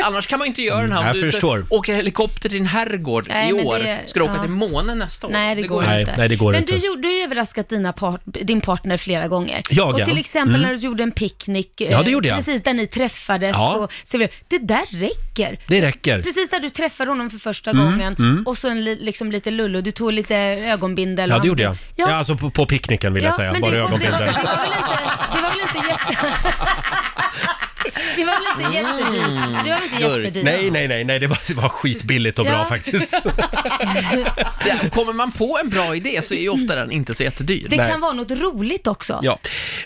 [SPEAKER 7] annars kan man ju inte göra den här.
[SPEAKER 1] jag
[SPEAKER 7] du inte
[SPEAKER 1] förstår.
[SPEAKER 7] åker helikopter till din herrgård
[SPEAKER 2] Nej,
[SPEAKER 7] i
[SPEAKER 2] men
[SPEAKER 7] år,
[SPEAKER 2] det-
[SPEAKER 7] ska du åka
[SPEAKER 2] ja.
[SPEAKER 7] till månen nästa år?
[SPEAKER 2] Nej, det, går,
[SPEAKER 1] ju-
[SPEAKER 2] inte.
[SPEAKER 1] Nej, nej, det går
[SPEAKER 2] men
[SPEAKER 1] inte.
[SPEAKER 2] du, gjorde- du har ju överraskat dina part, din partner flera gånger.
[SPEAKER 1] Jag,
[SPEAKER 2] och
[SPEAKER 1] ja. Mm.
[SPEAKER 2] till exempel när du gjorde en picknick, eh,
[SPEAKER 1] Ja, det gjorde jag.
[SPEAKER 2] precis där ni träffades.
[SPEAKER 1] Ja.
[SPEAKER 2] Och, så, det där räcker.
[SPEAKER 1] Det räcker. Mm,
[SPEAKER 2] Precis där du träffade honom för första gången och så en li, liksom lite lullo, du tog lite ögonbindel.
[SPEAKER 1] Ja,
[SPEAKER 2] och
[SPEAKER 1] det gjorde jag.
[SPEAKER 2] hand-
[SPEAKER 1] Ja,
[SPEAKER 2] Ja,
[SPEAKER 1] alltså på, på picknicken vill
[SPEAKER 2] ja,
[SPEAKER 1] jag säga,
[SPEAKER 2] men
[SPEAKER 1] bara
[SPEAKER 2] det, och det, var, det,
[SPEAKER 1] ögonbindeln.
[SPEAKER 2] var väl inte, det var väl inte
[SPEAKER 7] Mm.
[SPEAKER 2] jätte... det var väl inte jättedyrt? Det var väl inte
[SPEAKER 7] Gurk.
[SPEAKER 2] jättedyrt?
[SPEAKER 1] Mm. Nej, nej, nej, nej, det var, det var skitbilligt och bra
[SPEAKER 2] Ja.
[SPEAKER 1] faktiskt.
[SPEAKER 7] Det- Kommer man på en bra idé så är ju ofta den inte så jättedyr.
[SPEAKER 2] Det
[SPEAKER 1] Nej.
[SPEAKER 2] kan vara något roligt också.
[SPEAKER 1] Ja.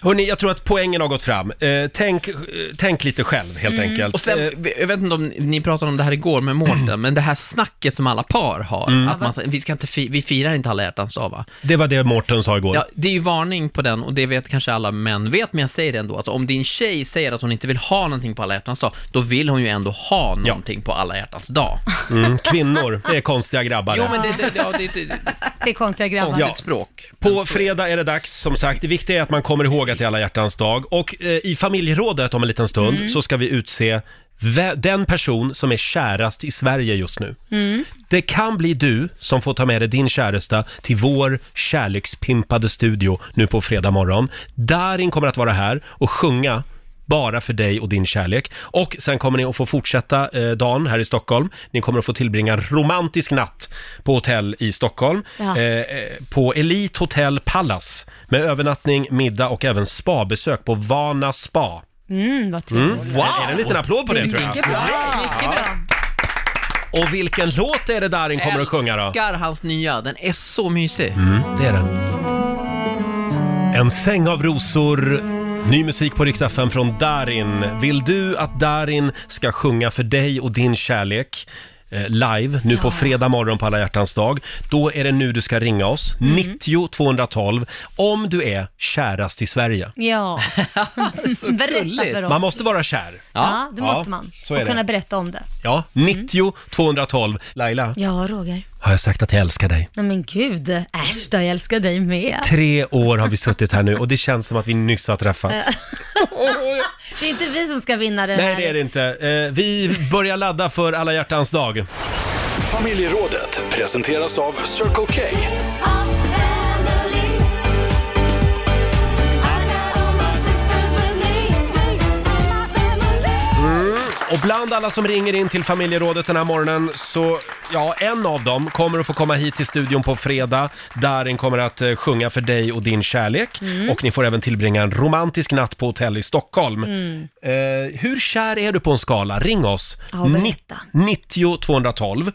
[SPEAKER 1] Hörrni, jag tror att poängen har gått fram. Eh, tänk, eh, tänk lite själv helt enkelt.
[SPEAKER 7] Mm. Och sen,
[SPEAKER 1] Eh, Mm.
[SPEAKER 7] jag vet inte om ni pratade om det här igår med Mårten, men det här snacket som alla par har, att man, säger, vi, ska inte fi, vi firar inte alla hjärtans dag va?
[SPEAKER 1] det var det Mårten sa igår.
[SPEAKER 7] Ja, det är ju varning på den och det vet kanske alla män vet, men jag säger det ändå. Alltså, om din tjej säger att hon inte vill ha någonting på alla hjärtans dag, då vill hon ju ändå ha någonting på alla hjärtans dag.
[SPEAKER 1] Mm, kvinnor, det är konstiga grabbar.
[SPEAKER 7] Jo, men det, det, det, ja, det, det, det är
[SPEAKER 2] Det är konstiga grabbar.
[SPEAKER 7] konstigt språk.
[SPEAKER 1] På fredag är det dags, som sagt. Det viktiga är att man kommer ihåg att det är alla hjärtans dag. Och eh, i familjerådet om en liten stund
[SPEAKER 2] Mm.
[SPEAKER 1] så ska vi utse vä- den person som är kärast i Sverige just nu. Det kan bli du som får ta med dig din käresta till vår kärlekspimpade studio nu på fredag morgon. Darin kommer att vara här och sjunga bara för dig och din kärlek. Och sen kommer ni att få fortsätta eh, dagen här i Stockholm. Ni kommer att få tillbringa en romantisk natt på hotell i Stockholm.
[SPEAKER 2] Ja.
[SPEAKER 1] Eh, eh, på Elite Hotel Palace med övernattning, middag och även spabesök på Vana Spa.
[SPEAKER 2] Mm, vad trevligt.
[SPEAKER 1] Wow! Är det en liten applåd på det tror jag?
[SPEAKER 2] Mycket bra. Mycket bra.
[SPEAKER 1] Och vilken låt är det Darin kommer att sjunga då? Mm,
[SPEAKER 7] Älskar hans nya, den är så mysig.
[SPEAKER 1] Det är den. En säng av rosor. Ny musik på Rix FM från Darin. Vill du att Darin ska sjunga för dig och din kärlek? eh, live nu på fredag morgon på alla hjärtans dag. Då är det nu du ska ringa oss,
[SPEAKER 2] Mm.
[SPEAKER 1] 90 212, om du är kärast i Sverige.
[SPEAKER 2] Ja, berätta
[SPEAKER 7] gulligt.
[SPEAKER 2] för oss.
[SPEAKER 1] Man måste vara kär.
[SPEAKER 2] ja, det
[SPEAKER 1] Ja,
[SPEAKER 2] måste man.
[SPEAKER 1] så är
[SPEAKER 2] och
[SPEAKER 1] det.
[SPEAKER 2] kunna berätta om det.
[SPEAKER 1] Ja, 90 212. Laila,
[SPEAKER 2] Ja, Roger.
[SPEAKER 1] har jag sagt att jag älskar dig?
[SPEAKER 2] Nej men gud, äsch då, jag älskar dig med.
[SPEAKER 1] Tre år har vi suttit här nu och det känns som att vi nyss har träffats.
[SPEAKER 2] Det är inte vi som ska vinna det
[SPEAKER 1] Nej,
[SPEAKER 2] här.
[SPEAKER 1] det är det inte. Eh, vi börjar ladda för alla hjärtans dag.
[SPEAKER 4] Familjerådet presenteras av Circle K.
[SPEAKER 8] Our family. I got all my sisters
[SPEAKER 1] Och bland alla som ringer in till familjerådet den här morgonen så, ja, en av dem kommer att få komma hit till studion på fredag. Darin kommer att eh, sjunga för dig och din kärlek.
[SPEAKER 2] Mm.
[SPEAKER 1] Och ni får även tillbringa en romantisk natt på hotell i Stockholm.
[SPEAKER 2] Mm.
[SPEAKER 1] Eh, hur kär är du på en skala? Ring oss!
[SPEAKER 2] Ja, berätta. Mm.
[SPEAKER 1] Ni- 90 212.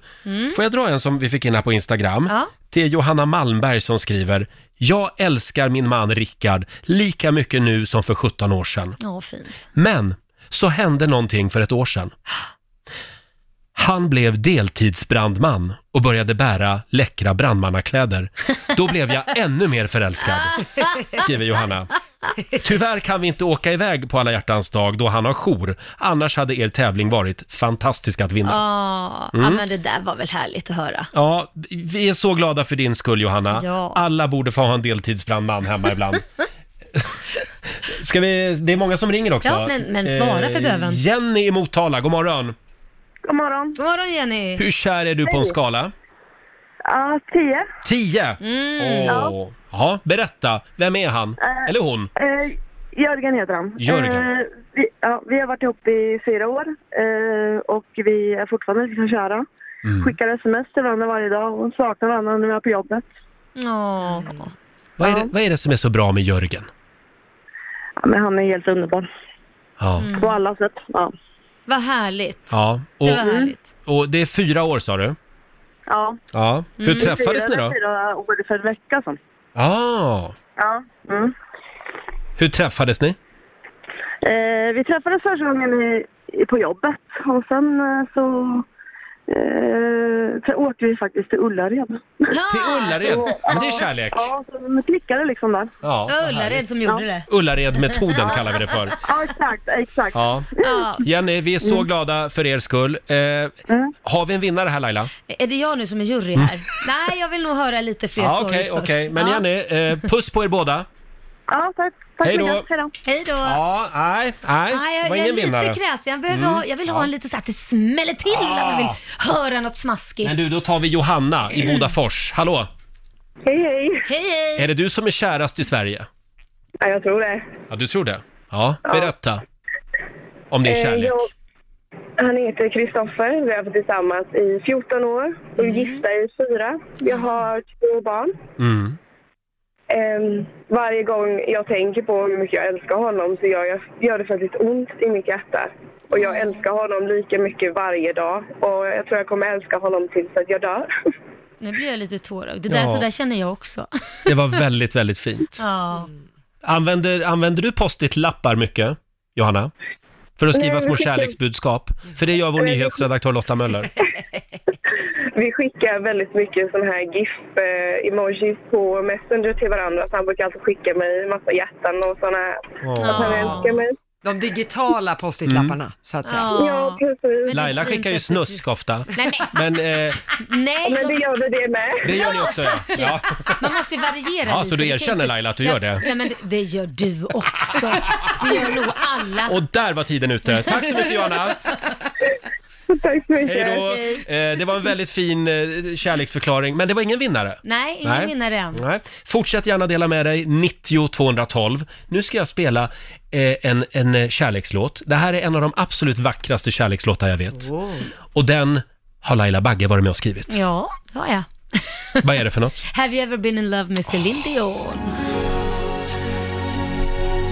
[SPEAKER 1] Får jag dra en som vi fick in här på Instagram?
[SPEAKER 2] Ja.
[SPEAKER 1] Det är Johanna Malmberg som skriver “Jag älskar min man Rickard lika mycket nu som för 17 år sedan.
[SPEAKER 2] Ja, fint.
[SPEAKER 1] Men så hände någonting för ett år sedan. Han blev deltidsbrandman och började bära läckra brandmannakläder. Då blev jag ännu mer förälskad, skriver Johanna. Tyvärr kan vi inte åka iväg på alla hjärtans dag då han har jour. Annars hade er tävling varit fantastisk att vinna.
[SPEAKER 2] Ja,
[SPEAKER 1] Mm.
[SPEAKER 2] ja, men det där var väl härligt att höra.
[SPEAKER 1] Ja, vi är så glada för din skull Johanna.
[SPEAKER 2] Ja.
[SPEAKER 1] Alla borde få ha en deltidsbrandman hemma ibland. Ska vi, det är många som ringer också. Eh,
[SPEAKER 2] Ja, men- men svara för döven.
[SPEAKER 1] Jenny i Motala, god morgon.
[SPEAKER 6] God morgon.
[SPEAKER 2] God morgon Jenny!
[SPEAKER 1] Hur kär är du på en skala?
[SPEAKER 6] Ja, tio.
[SPEAKER 1] 10?
[SPEAKER 2] Mm.
[SPEAKER 1] Åh. Ja, berätta. Vem är han? Eller hon?
[SPEAKER 6] Eh, Jörgen heter han.
[SPEAKER 1] Jörgen.
[SPEAKER 6] Eh, vi, ja, vi har varit ihop i fyra år eh, och vi är fortfarande liksom kära.
[SPEAKER 1] Mm.
[SPEAKER 6] Skickar sms till varandra varje dag och saknar varandra när vi är på jobbet.
[SPEAKER 2] Ja.
[SPEAKER 1] Vad är, det, vad är det som är så bra med Jörgen?
[SPEAKER 6] Ja, men han är helt underbar
[SPEAKER 1] Ja.
[SPEAKER 6] på alla sätt. Ja.
[SPEAKER 2] Vad härligt.
[SPEAKER 1] ja.
[SPEAKER 2] Det var
[SPEAKER 1] Och, Mm.
[SPEAKER 2] härligt. Mm.
[SPEAKER 1] och det är fyra år sa du?
[SPEAKER 6] Ja,
[SPEAKER 1] Ja. Hur träffades ni
[SPEAKER 6] fyra,
[SPEAKER 1] då?
[SPEAKER 6] fyra år för en vecka sedan.
[SPEAKER 1] Ah.
[SPEAKER 6] Ja. Mm.
[SPEAKER 1] Hur träffades ni?
[SPEAKER 6] Eh, vi träffades första gången i, i, på jobbet och sen eh, så eh, så åkte vi faktiskt till Ullared.
[SPEAKER 1] Till Ullared? Men det är kärlek.
[SPEAKER 6] Ja, så de klickade liksom där.
[SPEAKER 1] Ja,
[SPEAKER 2] Det var
[SPEAKER 1] vad härligt.
[SPEAKER 2] Ullared som gjorde det.
[SPEAKER 1] Ullared-metoden kallar vi det för.
[SPEAKER 6] Ja, exakt, exakt.
[SPEAKER 1] Ja.
[SPEAKER 2] Ja. Mm.
[SPEAKER 1] Jenny, vi är så glada för er skull. Eh, Har vi en vinnare här Laila?
[SPEAKER 2] Är det jag nu som är jury här? Nej, jag vill nog höra lite fler
[SPEAKER 1] Ja,
[SPEAKER 2] stories
[SPEAKER 1] Mm. Ah, okej,
[SPEAKER 2] först.
[SPEAKER 1] okej. Men
[SPEAKER 2] Ja.
[SPEAKER 1] Jenny, eh, puss på er båda.
[SPEAKER 6] Ja, tack. tack
[SPEAKER 1] Hej då.
[SPEAKER 6] så mycket. Hej då.
[SPEAKER 2] Hej då!
[SPEAKER 1] Ja, nej, nej.
[SPEAKER 2] Nej,
[SPEAKER 1] det
[SPEAKER 2] jag,
[SPEAKER 1] var
[SPEAKER 2] jag är
[SPEAKER 1] ingen
[SPEAKER 2] lite
[SPEAKER 1] vinnare. Mm.
[SPEAKER 2] kräsen. Jag, behöver ha, jag vill ha en lite så här att det smäller till när man vill höra något smaskigt.
[SPEAKER 1] Ah. Men du, då tar vi Johanna
[SPEAKER 2] Mm.
[SPEAKER 1] i Bodafors. Hallå!
[SPEAKER 6] Hej, hej.
[SPEAKER 2] Hej, hej!
[SPEAKER 1] Är det du som är kärast i Sverige?
[SPEAKER 6] Ja, jag tror det.
[SPEAKER 1] Ja, du tror det? Ja, berätta. Om din
[SPEAKER 6] Eh,
[SPEAKER 1] kärlek.
[SPEAKER 6] jag- han heter Kristoffer. Vi har varit tillsammans i 14 år och är gifta i fyra. Jag har två barn.
[SPEAKER 1] Mm.
[SPEAKER 6] Ehm, varje gång jag tänker på hur mycket jag älskar honom så gör, jag, gör det faktiskt ont i mitt hjärta. Och jag älskar honom lika mycket varje dag. Och jag tror jag kommer älska honom tills att jag dör.
[SPEAKER 2] Nu blir jag lite tårögd. Det där,
[SPEAKER 1] Ja.
[SPEAKER 2] Så där känner jag också.
[SPEAKER 1] Det var väldigt, väldigt fint.
[SPEAKER 2] Ja.
[SPEAKER 1] Använder, använder du post-it-lappar mycket, Johanna? För att skriva
[SPEAKER 6] Nej,
[SPEAKER 1] små
[SPEAKER 6] jag tycker-
[SPEAKER 1] kärleksbudskap? För Eh, det gör vår nyhetsredaktör Lotta Möller.
[SPEAKER 6] Vi skickar väldigt mycket sån här GIF-emojis på Messenger till varandra. Så han brukar alltid skicka mig massa hjärtan och såna här.
[SPEAKER 1] Åh.
[SPEAKER 6] Han älskar mig.
[SPEAKER 3] De digitala post-it-lapparna, så att säga.
[SPEAKER 6] Ja,
[SPEAKER 2] Ja.
[SPEAKER 6] precis.
[SPEAKER 2] Men-
[SPEAKER 1] Laila skickar ju snusk ofta.
[SPEAKER 2] Nej,
[SPEAKER 1] Men eh,
[SPEAKER 2] Nej,
[SPEAKER 6] Men det
[SPEAKER 2] jag,
[SPEAKER 6] gör vi det med.
[SPEAKER 1] det gör ni också ja. ja.
[SPEAKER 2] man måste ju variera
[SPEAKER 1] Ja,
[SPEAKER 2] lite.
[SPEAKER 1] så du
[SPEAKER 2] Det kan
[SPEAKER 1] erkänner,
[SPEAKER 2] inte-
[SPEAKER 1] Laila, att du gör det?
[SPEAKER 2] Nej, men det, det gör du också. Det gör nog alla.
[SPEAKER 1] Och där var tiden ute. Tack så mycket Johanna.
[SPEAKER 6] Tack så mycket.
[SPEAKER 1] Hej då. Eh, det var en väldigt fin eh, kärleksförklaring, men det var ingen vinnare.
[SPEAKER 2] Nej, ingen
[SPEAKER 1] Nej.
[SPEAKER 2] vinnare än.
[SPEAKER 1] Nej. Fortsätt gärna dela med dig, 90 212. Nu ska jag spela eh, en, en eh, kärlekslåt. Det här är en av de absolut vackraste kärlekslåtar jag vet. Och den har Laila Bagge varit med och skrivit.
[SPEAKER 2] Ja, det har jag.
[SPEAKER 1] Vad är det för något?
[SPEAKER 2] Have you ever been in love med Céline Dion?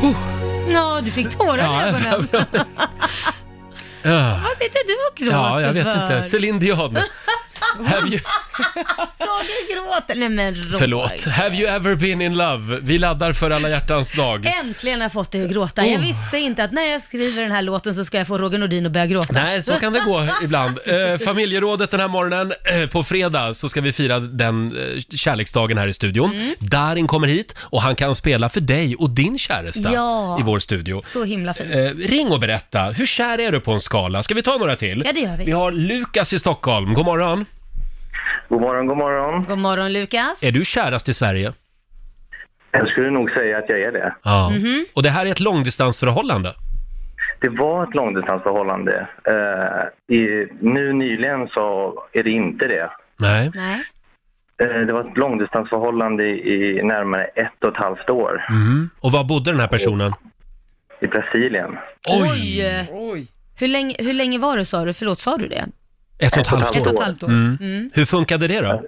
[SPEAKER 1] Uh.
[SPEAKER 2] Ja, du fick tårar i ögonen.
[SPEAKER 1] Ja,
[SPEAKER 2] Vad sitter du och gråter
[SPEAKER 1] Ah. ja jag vet
[SPEAKER 2] för?
[SPEAKER 1] inte. Céline Dion. Have you,
[SPEAKER 2] Roger gråter. Nej men Roger.
[SPEAKER 1] förlåt. Have you ever been in love? Vi laddar för alla hjärtans dag.
[SPEAKER 2] Äntligen har jag fått dig att gråta. Jag
[SPEAKER 1] Oh.
[SPEAKER 2] visste inte att när jag skriver den här låten så ska jag få Roger Nordin att börja gråta.
[SPEAKER 1] Nej, så kan det gå ibland. Eh, familjerådet den här morgonen. Eh, på fredag så ska vi fira den eh, kärleksdagen här i studion.
[SPEAKER 2] Mm.
[SPEAKER 1] Darin kommer hit och han kan spela för dig och din käresta
[SPEAKER 2] Ja.
[SPEAKER 1] i vår studio.
[SPEAKER 2] Så himla fint.
[SPEAKER 1] Eh, ring och berätta, hur kär är du på en skala? Ska vi ta några till?
[SPEAKER 2] Ja, det gör vi.
[SPEAKER 1] Vi har Lukas i Stockholm, god morgon.
[SPEAKER 8] God morgon, god morgon.
[SPEAKER 2] God morgon Lukas.
[SPEAKER 1] Är du kärast i Sverige?
[SPEAKER 8] Jag skulle nog säga att jag är det.
[SPEAKER 1] Ja.
[SPEAKER 2] Mhm.
[SPEAKER 1] Och det här är ett långdistansförhållande?
[SPEAKER 8] Det var ett långdistansförhållande. Eh, i, nu nyligen så är det inte det.
[SPEAKER 1] Nej.
[SPEAKER 2] Nej.
[SPEAKER 8] Eh, det var ett långdistansförhållande i närmare ett och ett halvt år
[SPEAKER 1] Och var bodde den här personen?
[SPEAKER 8] i Brasilien.
[SPEAKER 2] Oj. Hur länge, hur länge var det sa du? Förlåt, sa du det?
[SPEAKER 1] Ett och ett halvt
[SPEAKER 8] Ett
[SPEAKER 2] Ett
[SPEAKER 1] år.
[SPEAKER 2] och ett halvt år?
[SPEAKER 1] Mm.
[SPEAKER 2] Mm.
[SPEAKER 1] Hur funkade det då?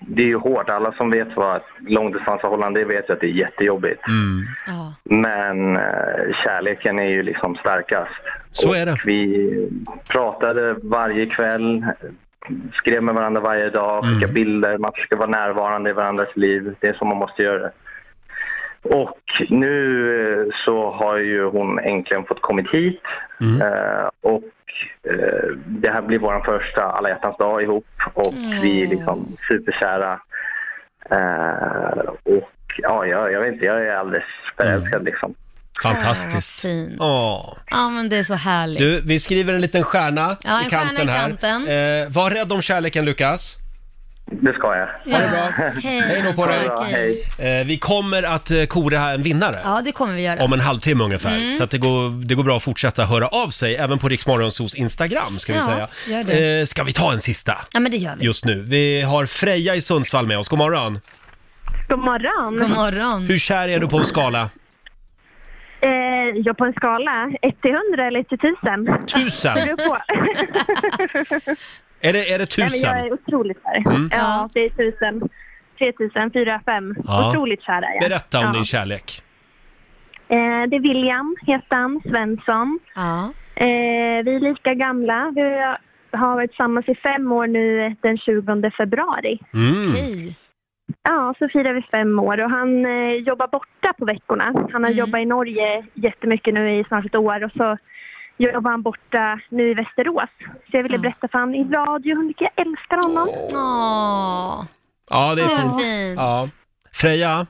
[SPEAKER 8] Det är ju hårt. Alla som vet vad långdistansförhållande är vet ju att det är jättejobbigt.
[SPEAKER 1] Mm.
[SPEAKER 2] Ja.
[SPEAKER 8] Men eh, kärleken är ju liksom starkast.
[SPEAKER 1] Så är det.
[SPEAKER 8] Vi pratade varje kväll, skrev med varandra varje dag,
[SPEAKER 1] Mm.
[SPEAKER 8] skickade bilder. Man försöker vara närvarande i varandras liv. Det är så man måste göra. Och nu eh, så har ju hon äntligen fått kommit hit.
[SPEAKER 1] Mm.
[SPEAKER 8] Eh, och eh, det här blir vår första alla hjärtans dag ihop och vi är liksom superkära. Eh, och ja, jag, jag vet inte, jag är alldeles förälskad liksom.
[SPEAKER 1] Fantastiskt.
[SPEAKER 2] Ah, fint.
[SPEAKER 1] Åh.
[SPEAKER 2] ja, men det är så härligt.
[SPEAKER 1] Du, vi skriver en liten stjärna
[SPEAKER 2] Ja, en
[SPEAKER 1] i
[SPEAKER 2] stjärna
[SPEAKER 1] kanten
[SPEAKER 2] i
[SPEAKER 1] här.
[SPEAKER 2] kanten.
[SPEAKER 1] Eh, var rädd om kärleken, Lukas.
[SPEAKER 8] Det ska jag.
[SPEAKER 2] ja.
[SPEAKER 1] det bra.
[SPEAKER 2] Hej.
[SPEAKER 1] Hej då på dig.
[SPEAKER 8] Ja,
[SPEAKER 2] Okej.
[SPEAKER 8] hej.
[SPEAKER 1] Eh, vi kommer att eh, kora en vinnare.
[SPEAKER 2] Ja, det Mm. kommer vi göra.
[SPEAKER 1] Om en halvtimme ungefär. Så att det, går, det går bra att fortsätta höra av sig, även på Riksmorgonsos Instagram ska vi
[SPEAKER 2] Ja,
[SPEAKER 1] säga.
[SPEAKER 2] gör det.
[SPEAKER 1] Eh, ska vi ta en sista
[SPEAKER 2] Ja, men det gör vi.
[SPEAKER 1] just nu? Vi har Freja i Sundsvall med oss. God morgon.
[SPEAKER 9] God morgon.
[SPEAKER 2] God morgon.
[SPEAKER 1] Hur kär är du på en skala?
[SPEAKER 9] Eh, jag på en skala, 1 till 100 eller 1 till 1000?
[SPEAKER 1] Tusen!
[SPEAKER 9] Det beror på.
[SPEAKER 1] Är det, är det
[SPEAKER 9] Nej, men
[SPEAKER 1] tusen? Mm.
[SPEAKER 9] jag är otroligt kär. Ja, det är 1000. 3000, 4, 5.
[SPEAKER 1] Ja.
[SPEAKER 9] Otroligt kär är jag.
[SPEAKER 1] Berätta om
[SPEAKER 9] ja.
[SPEAKER 1] din kärlek.
[SPEAKER 9] Eh, det är William, heter han, Svensson.
[SPEAKER 2] Ja.
[SPEAKER 9] Eh, vi är lika gamla. Vi har varit tillsammans i fem år nu den 20 februari.
[SPEAKER 1] Mm.
[SPEAKER 2] Hej.
[SPEAKER 9] Ja, så firar vi fem år och han eh, jobbar borta på veckorna. Han har
[SPEAKER 2] Mm.
[SPEAKER 9] jobbat i Norge jättemycket nu i snart ett år och så jobbar han borta nu i Västerås. Så jag ville
[SPEAKER 2] Ja.
[SPEAKER 9] berätta för honom i radio hur mycket jag älskar honom.
[SPEAKER 2] Åh,
[SPEAKER 1] Ja, det är
[SPEAKER 2] vad
[SPEAKER 1] fint.
[SPEAKER 2] fint.
[SPEAKER 1] Ja. Freja,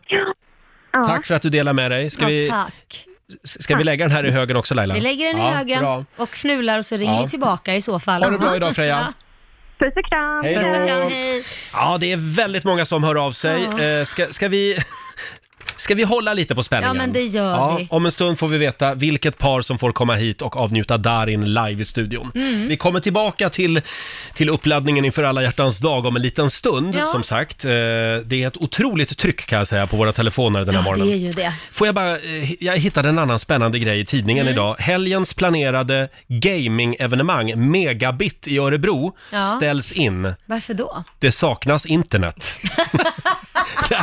[SPEAKER 9] Ja.
[SPEAKER 1] tack för att du delar med dig. Ska,
[SPEAKER 2] Ja,
[SPEAKER 1] vi,
[SPEAKER 2] tack.
[SPEAKER 1] ska vi lägga den här i högen också Laila?
[SPEAKER 2] Vi lägger den i
[SPEAKER 1] Ja,
[SPEAKER 2] högen
[SPEAKER 1] Bra.
[SPEAKER 2] och fnular och så ringer
[SPEAKER 1] Ja.
[SPEAKER 2] vi tillbaka i så fall.
[SPEAKER 1] Ha det bra idag Freja.
[SPEAKER 9] Puss och kram!
[SPEAKER 1] Hej
[SPEAKER 2] Puss och
[SPEAKER 1] då.
[SPEAKER 2] kram, hej.
[SPEAKER 1] Ja, det är väldigt många som hör av sig.
[SPEAKER 2] Ja.
[SPEAKER 1] Eh, ska, ska vi... Ska vi hålla lite på spänningen?
[SPEAKER 2] Ja, men det gör vi.
[SPEAKER 1] Om en stund får vi veta vilket par som får komma hit och avnjuta Darin live i studion.
[SPEAKER 2] Mm.
[SPEAKER 1] Vi kommer tillbaka till, till uppladdningen inför alla hjärtans dag om en liten stund,
[SPEAKER 2] Ja.
[SPEAKER 1] som sagt. Eh, det är ett otroligt tryck kan jag säga på våra telefoner den här
[SPEAKER 2] Ja,
[SPEAKER 1] morgonen.
[SPEAKER 2] det är ju det.
[SPEAKER 1] Får jag bara, eh, jag hittade en annan spännande grej i tidningen
[SPEAKER 2] Mm.
[SPEAKER 1] idag. Helgens planerade gaming-evenemang, Megabit i Örebro,
[SPEAKER 2] Ja.
[SPEAKER 1] ställs in.
[SPEAKER 2] Varför då?
[SPEAKER 1] Det saknas internet.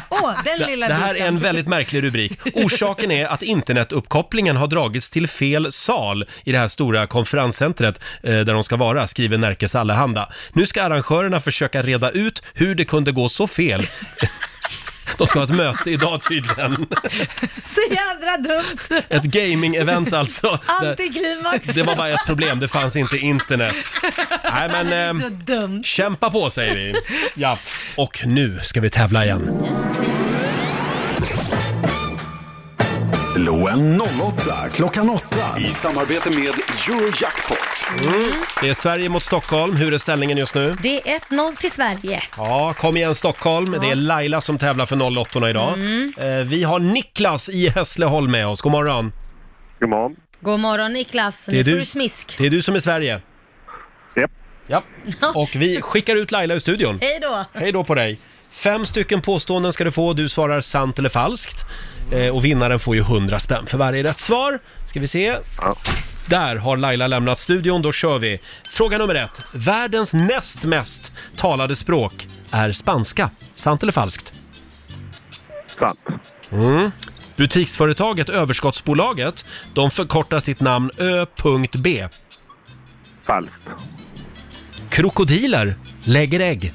[SPEAKER 2] Åh, den lilla
[SPEAKER 1] Det här är
[SPEAKER 2] biten.
[SPEAKER 1] en väldigt märklig rubrik. Orsaken är att internetuppkopplingen har dragits till fel sal i det här stora konferenscentret eh, där de ska vara, skriver Närkes Allehanda. Nu ska arrangörerna försöka reda ut hur det kunde gå så fel. De ska ha ett möte idag tydligen.
[SPEAKER 2] Så jädra dumt.
[SPEAKER 1] Ett gaming-event alltså. Där-
[SPEAKER 2] Antiklimax.
[SPEAKER 1] Det var bara ett problem, det fanns inte internet. Nej
[SPEAKER 2] Det
[SPEAKER 1] men...
[SPEAKER 2] är så
[SPEAKER 1] ehm,
[SPEAKER 2] dumt.
[SPEAKER 1] Kämpa på säger vi. Ja. Och nu ska vi tävla igen.
[SPEAKER 4] Slå en 08 klockan 8 i samarbete med Eurojackpot.
[SPEAKER 1] Mm.
[SPEAKER 10] Mm.
[SPEAKER 1] Det är Sverige mot Stockholm. Hur är ställningen just nu?
[SPEAKER 2] Det är 1-0 till Sverige.
[SPEAKER 1] Ja, kom igen Stockholm. Det är Laila som tävlar för 08 idag.
[SPEAKER 2] Mm.
[SPEAKER 1] Eh, Vi har Niklas i Hässleholm med oss. God morgon.
[SPEAKER 8] God morgon.
[SPEAKER 2] God morgon Niklas,
[SPEAKER 1] är
[SPEAKER 2] nu får
[SPEAKER 1] du-
[SPEAKER 2] du smisk.
[SPEAKER 1] Det är du som är Sverige.
[SPEAKER 8] Japp.
[SPEAKER 1] Ja. Och vi skickar ut Laila ur studion.
[SPEAKER 2] Hej då.
[SPEAKER 1] Hej då på dig. Fem stycken påståenden ska du få. Du svarar sant eller falskt. Eh, och vinnaren får ju 100 spänn för varje rätt svar. Ska vi se. Där har Laila lämnat studion, då kör vi. Fråga nummer ett. Världens näst mest talade språk är spanska. Sant eller falskt? Mm.
[SPEAKER 8] Sant.
[SPEAKER 1] Butiksföretaget Överskottsbolaget, de förkortar sitt namn Ö.B.
[SPEAKER 8] Falskt.
[SPEAKER 1] Krokodiler lägger ägg.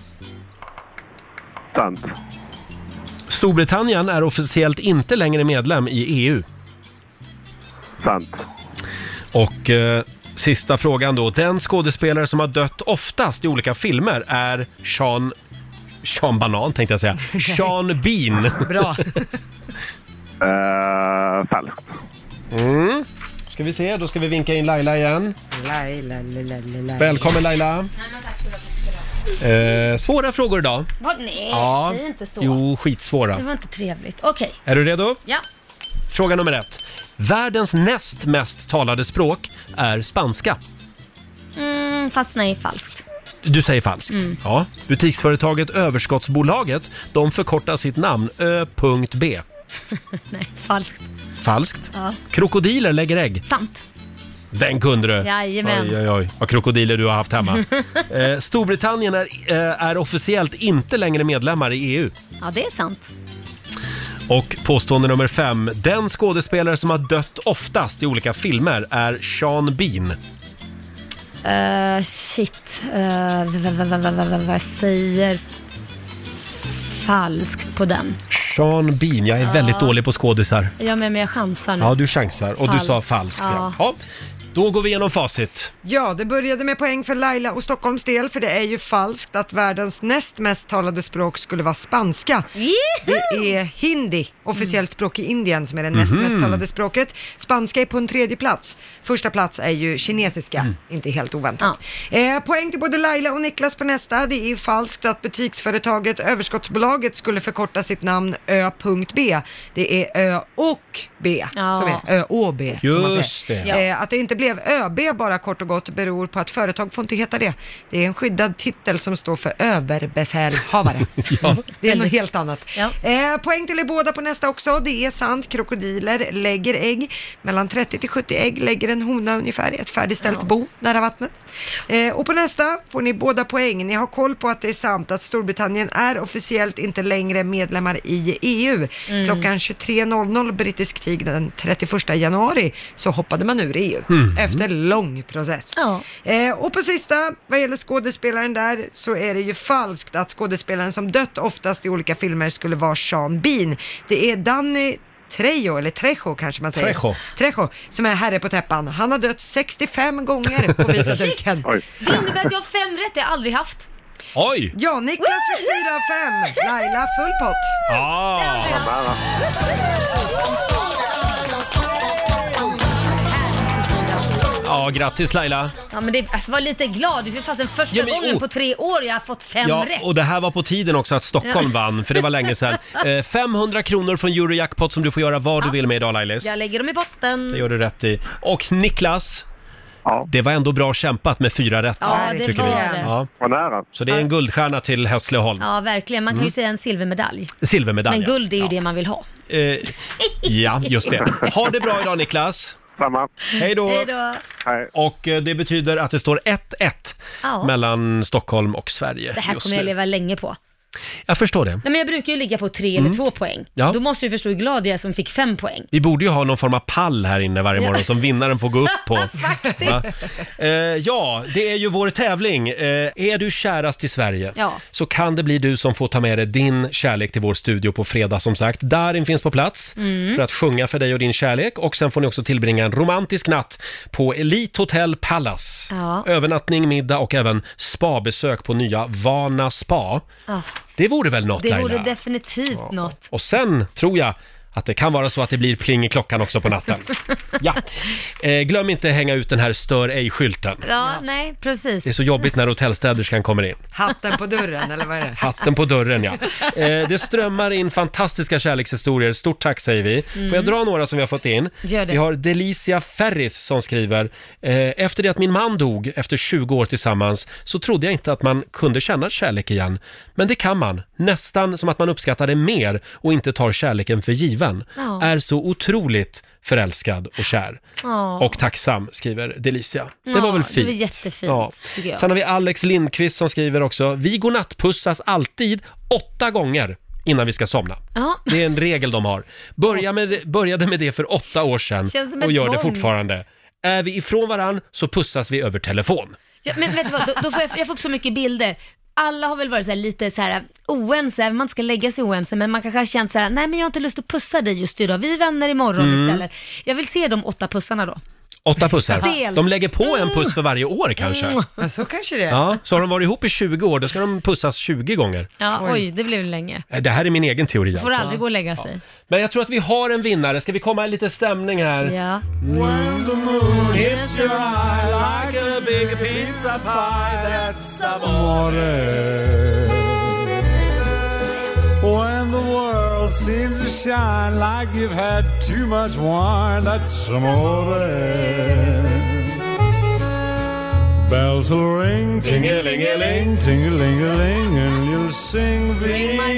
[SPEAKER 8] Sant.
[SPEAKER 1] Storbritannien är officiellt inte längre medlem i E EU.
[SPEAKER 8] Sant.
[SPEAKER 1] Och eh, sista frågan då. Den skådespelare som har dött oftast i olika filmer är Sean... Sean Banan tänkte jag säga. Sean Bean.
[SPEAKER 2] Bra.
[SPEAKER 8] Uh, falskt.
[SPEAKER 1] Mm. Ska vi se, då ska vi vinka in Laila igen.
[SPEAKER 3] Mm. Laila, lila, lila.
[SPEAKER 1] Välkommen Laila. Eh, svåra frågor idag.
[SPEAKER 2] Vad? Nej, säg inte så.
[SPEAKER 1] Jo,
[SPEAKER 2] Det
[SPEAKER 1] skitsvåra.
[SPEAKER 2] var inte trevligt. Okej,
[SPEAKER 1] Är du redo?
[SPEAKER 2] ja.
[SPEAKER 1] Fråga nummer ett. Världens näst mest talade språk är spanska.
[SPEAKER 2] Mm, fast nej, falskt.
[SPEAKER 1] Du säger falskt.
[SPEAKER 2] Mm.
[SPEAKER 1] Ja. Butiksföretaget Överskottsbolaget, de förkortar sitt namn Ö.B.
[SPEAKER 2] Nej, falskt.
[SPEAKER 1] Falskt.
[SPEAKER 2] Ja.
[SPEAKER 1] Krokodiler lägger ägg.
[SPEAKER 2] Sant.
[SPEAKER 1] Den kunde du!
[SPEAKER 2] Jajamän.
[SPEAKER 1] Oj, oj, oj. Vad krokodiler du har haft hemma. eh, Storbritannien är, eh, är officiellt inte längre medlemmar i EU.
[SPEAKER 2] Ja, det är sant.
[SPEAKER 1] Och påstående nummer fem. Den skådespelare som har dött oftast i olika filmer är Sean Bean.
[SPEAKER 2] Eh, shit. Eh, v- v- v- v- v- vad säger falskt på den?
[SPEAKER 1] Sean Bean, jag är väldigt dålig på skådisar.
[SPEAKER 2] Ja, men men jag chansar nu.
[SPEAKER 1] Ja, du chansar och du sa
[SPEAKER 2] Falskt.
[SPEAKER 1] falskt. Ja.
[SPEAKER 2] Ja.
[SPEAKER 1] Ja. Då går vi igenom facit.
[SPEAKER 3] Ja, det började med poäng för Laila och Stockholms del, för det är ju falskt att världens näst mest talade språk skulle vara spanska. Det är hindi, officiellt
[SPEAKER 2] Mm.
[SPEAKER 3] språk i Indien, som är det näst
[SPEAKER 1] Mhm.
[SPEAKER 3] mest talade språket. Spanska är på en tredje plats. Första plats är ju kinesiska,
[SPEAKER 1] Mm.
[SPEAKER 3] inte helt oväntat. Eh, poäng till både Laila och Niklas på nästa. Det är ju falskt att butiksföretaget Överskottsbolaget skulle förkorta sitt namn Ö.B. Det är Ö och B,
[SPEAKER 2] Ja.
[SPEAKER 3] som är ÖOB. som man säger.
[SPEAKER 1] Just det.
[SPEAKER 2] Ja.
[SPEAKER 3] Eh, Att det inte blev ÖB bara kort och gott beror på att företag får inte heta det. Det är en skyddad titel som står för överbefälhavare. Det är något helt annat.
[SPEAKER 2] Ja.
[SPEAKER 3] Eh, poäng till er båda på nästa också. Det är sant, krokodiler lägger ägg. Mellan 30 till 70 ägg lägger en hona ungefär i ett färdigställt bo nära vattnet. Eh, och på nästa får ni båda poäng. Ni har koll på att det är sant att Storbritannien är officiellt inte längre medlemmar i E EU.
[SPEAKER 2] Mm.
[SPEAKER 3] Klockan 23.00 brittisk tid den 31 januari så hoppade man ur EU
[SPEAKER 1] Mm.
[SPEAKER 3] efter lång process.
[SPEAKER 2] Mm. Ja.
[SPEAKER 3] Eh, och på sista, vad gäller skådespelaren där, så är det ju falskt att skådespelaren som dött oftast i olika filmer skulle vara Sean Bean. Det är Danny Trejo, eller Trejo kanske man säger.
[SPEAKER 1] Trejo.
[SPEAKER 3] Trejo, som är herre på täppan. Han har dött 65 gånger på vita duken.
[SPEAKER 4] Oj.
[SPEAKER 2] Det innebär att jag har fem rätt, det har jag aldrig haft.
[SPEAKER 1] Oj!
[SPEAKER 3] Ja, Niklas fick 4 av 5. Laila full pott.
[SPEAKER 1] Ah. Ja, grattis Laila!
[SPEAKER 2] Ja, men det jag var lite glad. Det är fasen första
[SPEAKER 1] Ja, men-
[SPEAKER 2] gången
[SPEAKER 1] oh.
[SPEAKER 2] på tre år jag har fått fem
[SPEAKER 1] Ja,
[SPEAKER 2] rätt.
[SPEAKER 1] och det här var på tiden också att Stockholm vann, för det var länge sedan. Eh, 500 kronor från Eurojackpot som du får göra vad du vill med idag Lailis.
[SPEAKER 2] Jag lägger dem i botten.
[SPEAKER 1] Det gör du rätt i. Och Niklas,
[SPEAKER 8] Ja.
[SPEAKER 1] det var ändå bra kämpat med fyra rätt.
[SPEAKER 2] Ja, det
[SPEAKER 1] tycker
[SPEAKER 2] var
[SPEAKER 1] vi.
[SPEAKER 2] det.
[SPEAKER 1] Ja,
[SPEAKER 8] Vad nära.
[SPEAKER 1] så det är en guldstjärna till Hässleholm.
[SPEAKER 2] Ja, verkligen. Man kan ju säga en silvermedalj.
[SPEAKER 1] Mm. Silvermedalj.
[SPEAKER 2] Men
[SPEAKER 1] ja.
[SPEAKER 2] guld är ju det man vill ha.
[SPEAKER 1] Eh, ja, just det. Ha det bra idag Niklas.
[SPEAKER 8] Samma.
[SPEAKER 1] Hej då!
[SPEAKER 2] Hej då.
[SPEAKER 8] Hej.
[SPEAKER 1] Och eh, det betyder att det står 1-1
[SPEAKER 2] Ja.
[SPEAKER 1] mellan Stockholm och Sverige
[SPEAKER 2] Det här
[SPEAKER 1] just
[SPEAKER 2] kommer jag
[SPEAKER 1] nu.
[SPEAKER 2] leva länge på.
[SPEAKER 1] Jag förstår det.
[SPEAKER 2] Nej, men jag brukar ju ligga på tre eller två poäng.
[SPEAKER 1] Mm. Ja.
[SPEAKER 2] Då måste du förstå hur glad jag är som fick fem poäng.
[SPEAKER 1] Vi borde ju ha någon form av pall här inne varje morgon som vinnaren får gå upp på.
[SPEAKER 2] Faktiskt.
[SPEAKER 1] Va? Eh, ja, det är ju vår tävling. Eh, är du kärast i Sverige
[SPEAKER 2] Ja.
[SPEAKER 1] så kan det bli du som får ta med dig din kärlek till vår studio på fredag som sagt. Darin finns på plats
[SPEAKER 2] Mm.
[SPEAKER 1] för att sjunga för dig och din kärlek och sen får ni också tillbringa en romantisk natt på Elite Hotel Palace.
[SPEAKER 2] Ja.
[SPEAKER 1] Övernattning, middag och även spabesök på nya Vana Spa.
[SPEAKER 2] Ja,
[SPEAKER 1] Det vore väl något
[SPEAKER 2] det vore
[SPEAKER 1] Laila?
[SPEAKER 2] definitivt något.
[SPEAKER 1] Och sen tror jag att det kan vara så att det blir pling i klockan också på natten. Ja. Eh, glöm inte hänga ut den här stör ej-skylten.
[SPEAKER 2] Ja, nej, precis.
[SPEAKER 1] Det är så jobbigt när hotellstäderskan kommer in.
[SPEAKER 3] Hatten på dörren, eller vad är det?
[SPEAKER 1] Hatten på dörren, ja. Eh, det strömmar in fantastiska kärlekshistorier. Stort tack säger vi. Får jag dra några som vi har fått in?
[SPEAKER 2] Mm. Gör det.
[SPEAKER 1] Vi har Delicia Ferris som skriver. Eh, efter det att min man dog efter 20 år tillsammans så trodde jag inte att man kunde känna kärlek igen. Men det kan man. Nästan som att man uppskattar det mer och inte tar kärleken för given.
[SPEAKER 2] Ja.
[SPEAKER 1] Är så otroligt förälskad och kär.
[SPEAKER 2] Ja.
[SPEAKER 1] Och tacksam, skriver Delicia. Det var
[SPEAKER 2] Ja,
[SPEAKER 1] väl
[SPEAKER 2] det
[SPEAKER 1] fint?
[SPEAKER 2] var jättefint, tycker jag.
[SPEAKER 1] Sen har vi Alex Lindqvist som skriver också. Vi godnattpussas alltid åtta gånger innan vi ska somna.
[SPEAKER 2] Ja.
[SPEAKER 1] Det är en regel de har. Börja med, började med det för åtta år sedan
[SPEAKER 2] Känns som
[SPEAKER 1] och
[SPEAKER 2] ett
[SPEAKER 1] gör det
[SPEAKER 2] tvång.
[SPEAKER 1] fortfarande. Är vi ifrån varann så pussas vi över telefon.
[SPEAKER 2] Ja, men vet du vad, då, då får jag, jag får upp så mycket bilder. Alla har väl varit så här lite så här eh, oense, även om man inte ska lägga sig oense, men man kanske har känt så här, nej men jag har inte lust att pussa dig just idag, vi är vänner imorgon
[SPEAKER 1] Mm.
[SPEAKER 2] istället. Jag vill se de åtta pussarna då.
[SPEAKER 1] Åtta pussar.
[SPEAKER 2] Stelt.
[SPEAKER 1] De lägger på en puss för varje år kanske.
[SPEAKER 3] Mm.
[SPEAKER 2] Mm.
[SPEAKER 3] Ja, så kanske det är.
[SPEAKER 1] Ja, så har de varit ihop i 20 år, då ska de pussas 20 gånger.
[SPEAKER 2] Ja, oj, det blev länge.
[SPEAKER 1] Eh, Det här är min egen teori
[SPEAKER 2] Får
[SPEAKER 1] alltså.
[SPEAKER 2] aldrig gå och lägga sig.
[SPEAKER 1] Men jag tror att vi har en vinnare. Ska vi komma i lite stämning här?
[SPEAKER 2] Ja.
[SPEAKER 1] Hits your eye like a big pizza pie that's amore.
[SPEAKER 11] When the world seems to shine like you've had too much wine, that's amore. Bells will ring, ting-a-ling-a-ling, ting-a-ling-a-ling, and you'll sing Ring my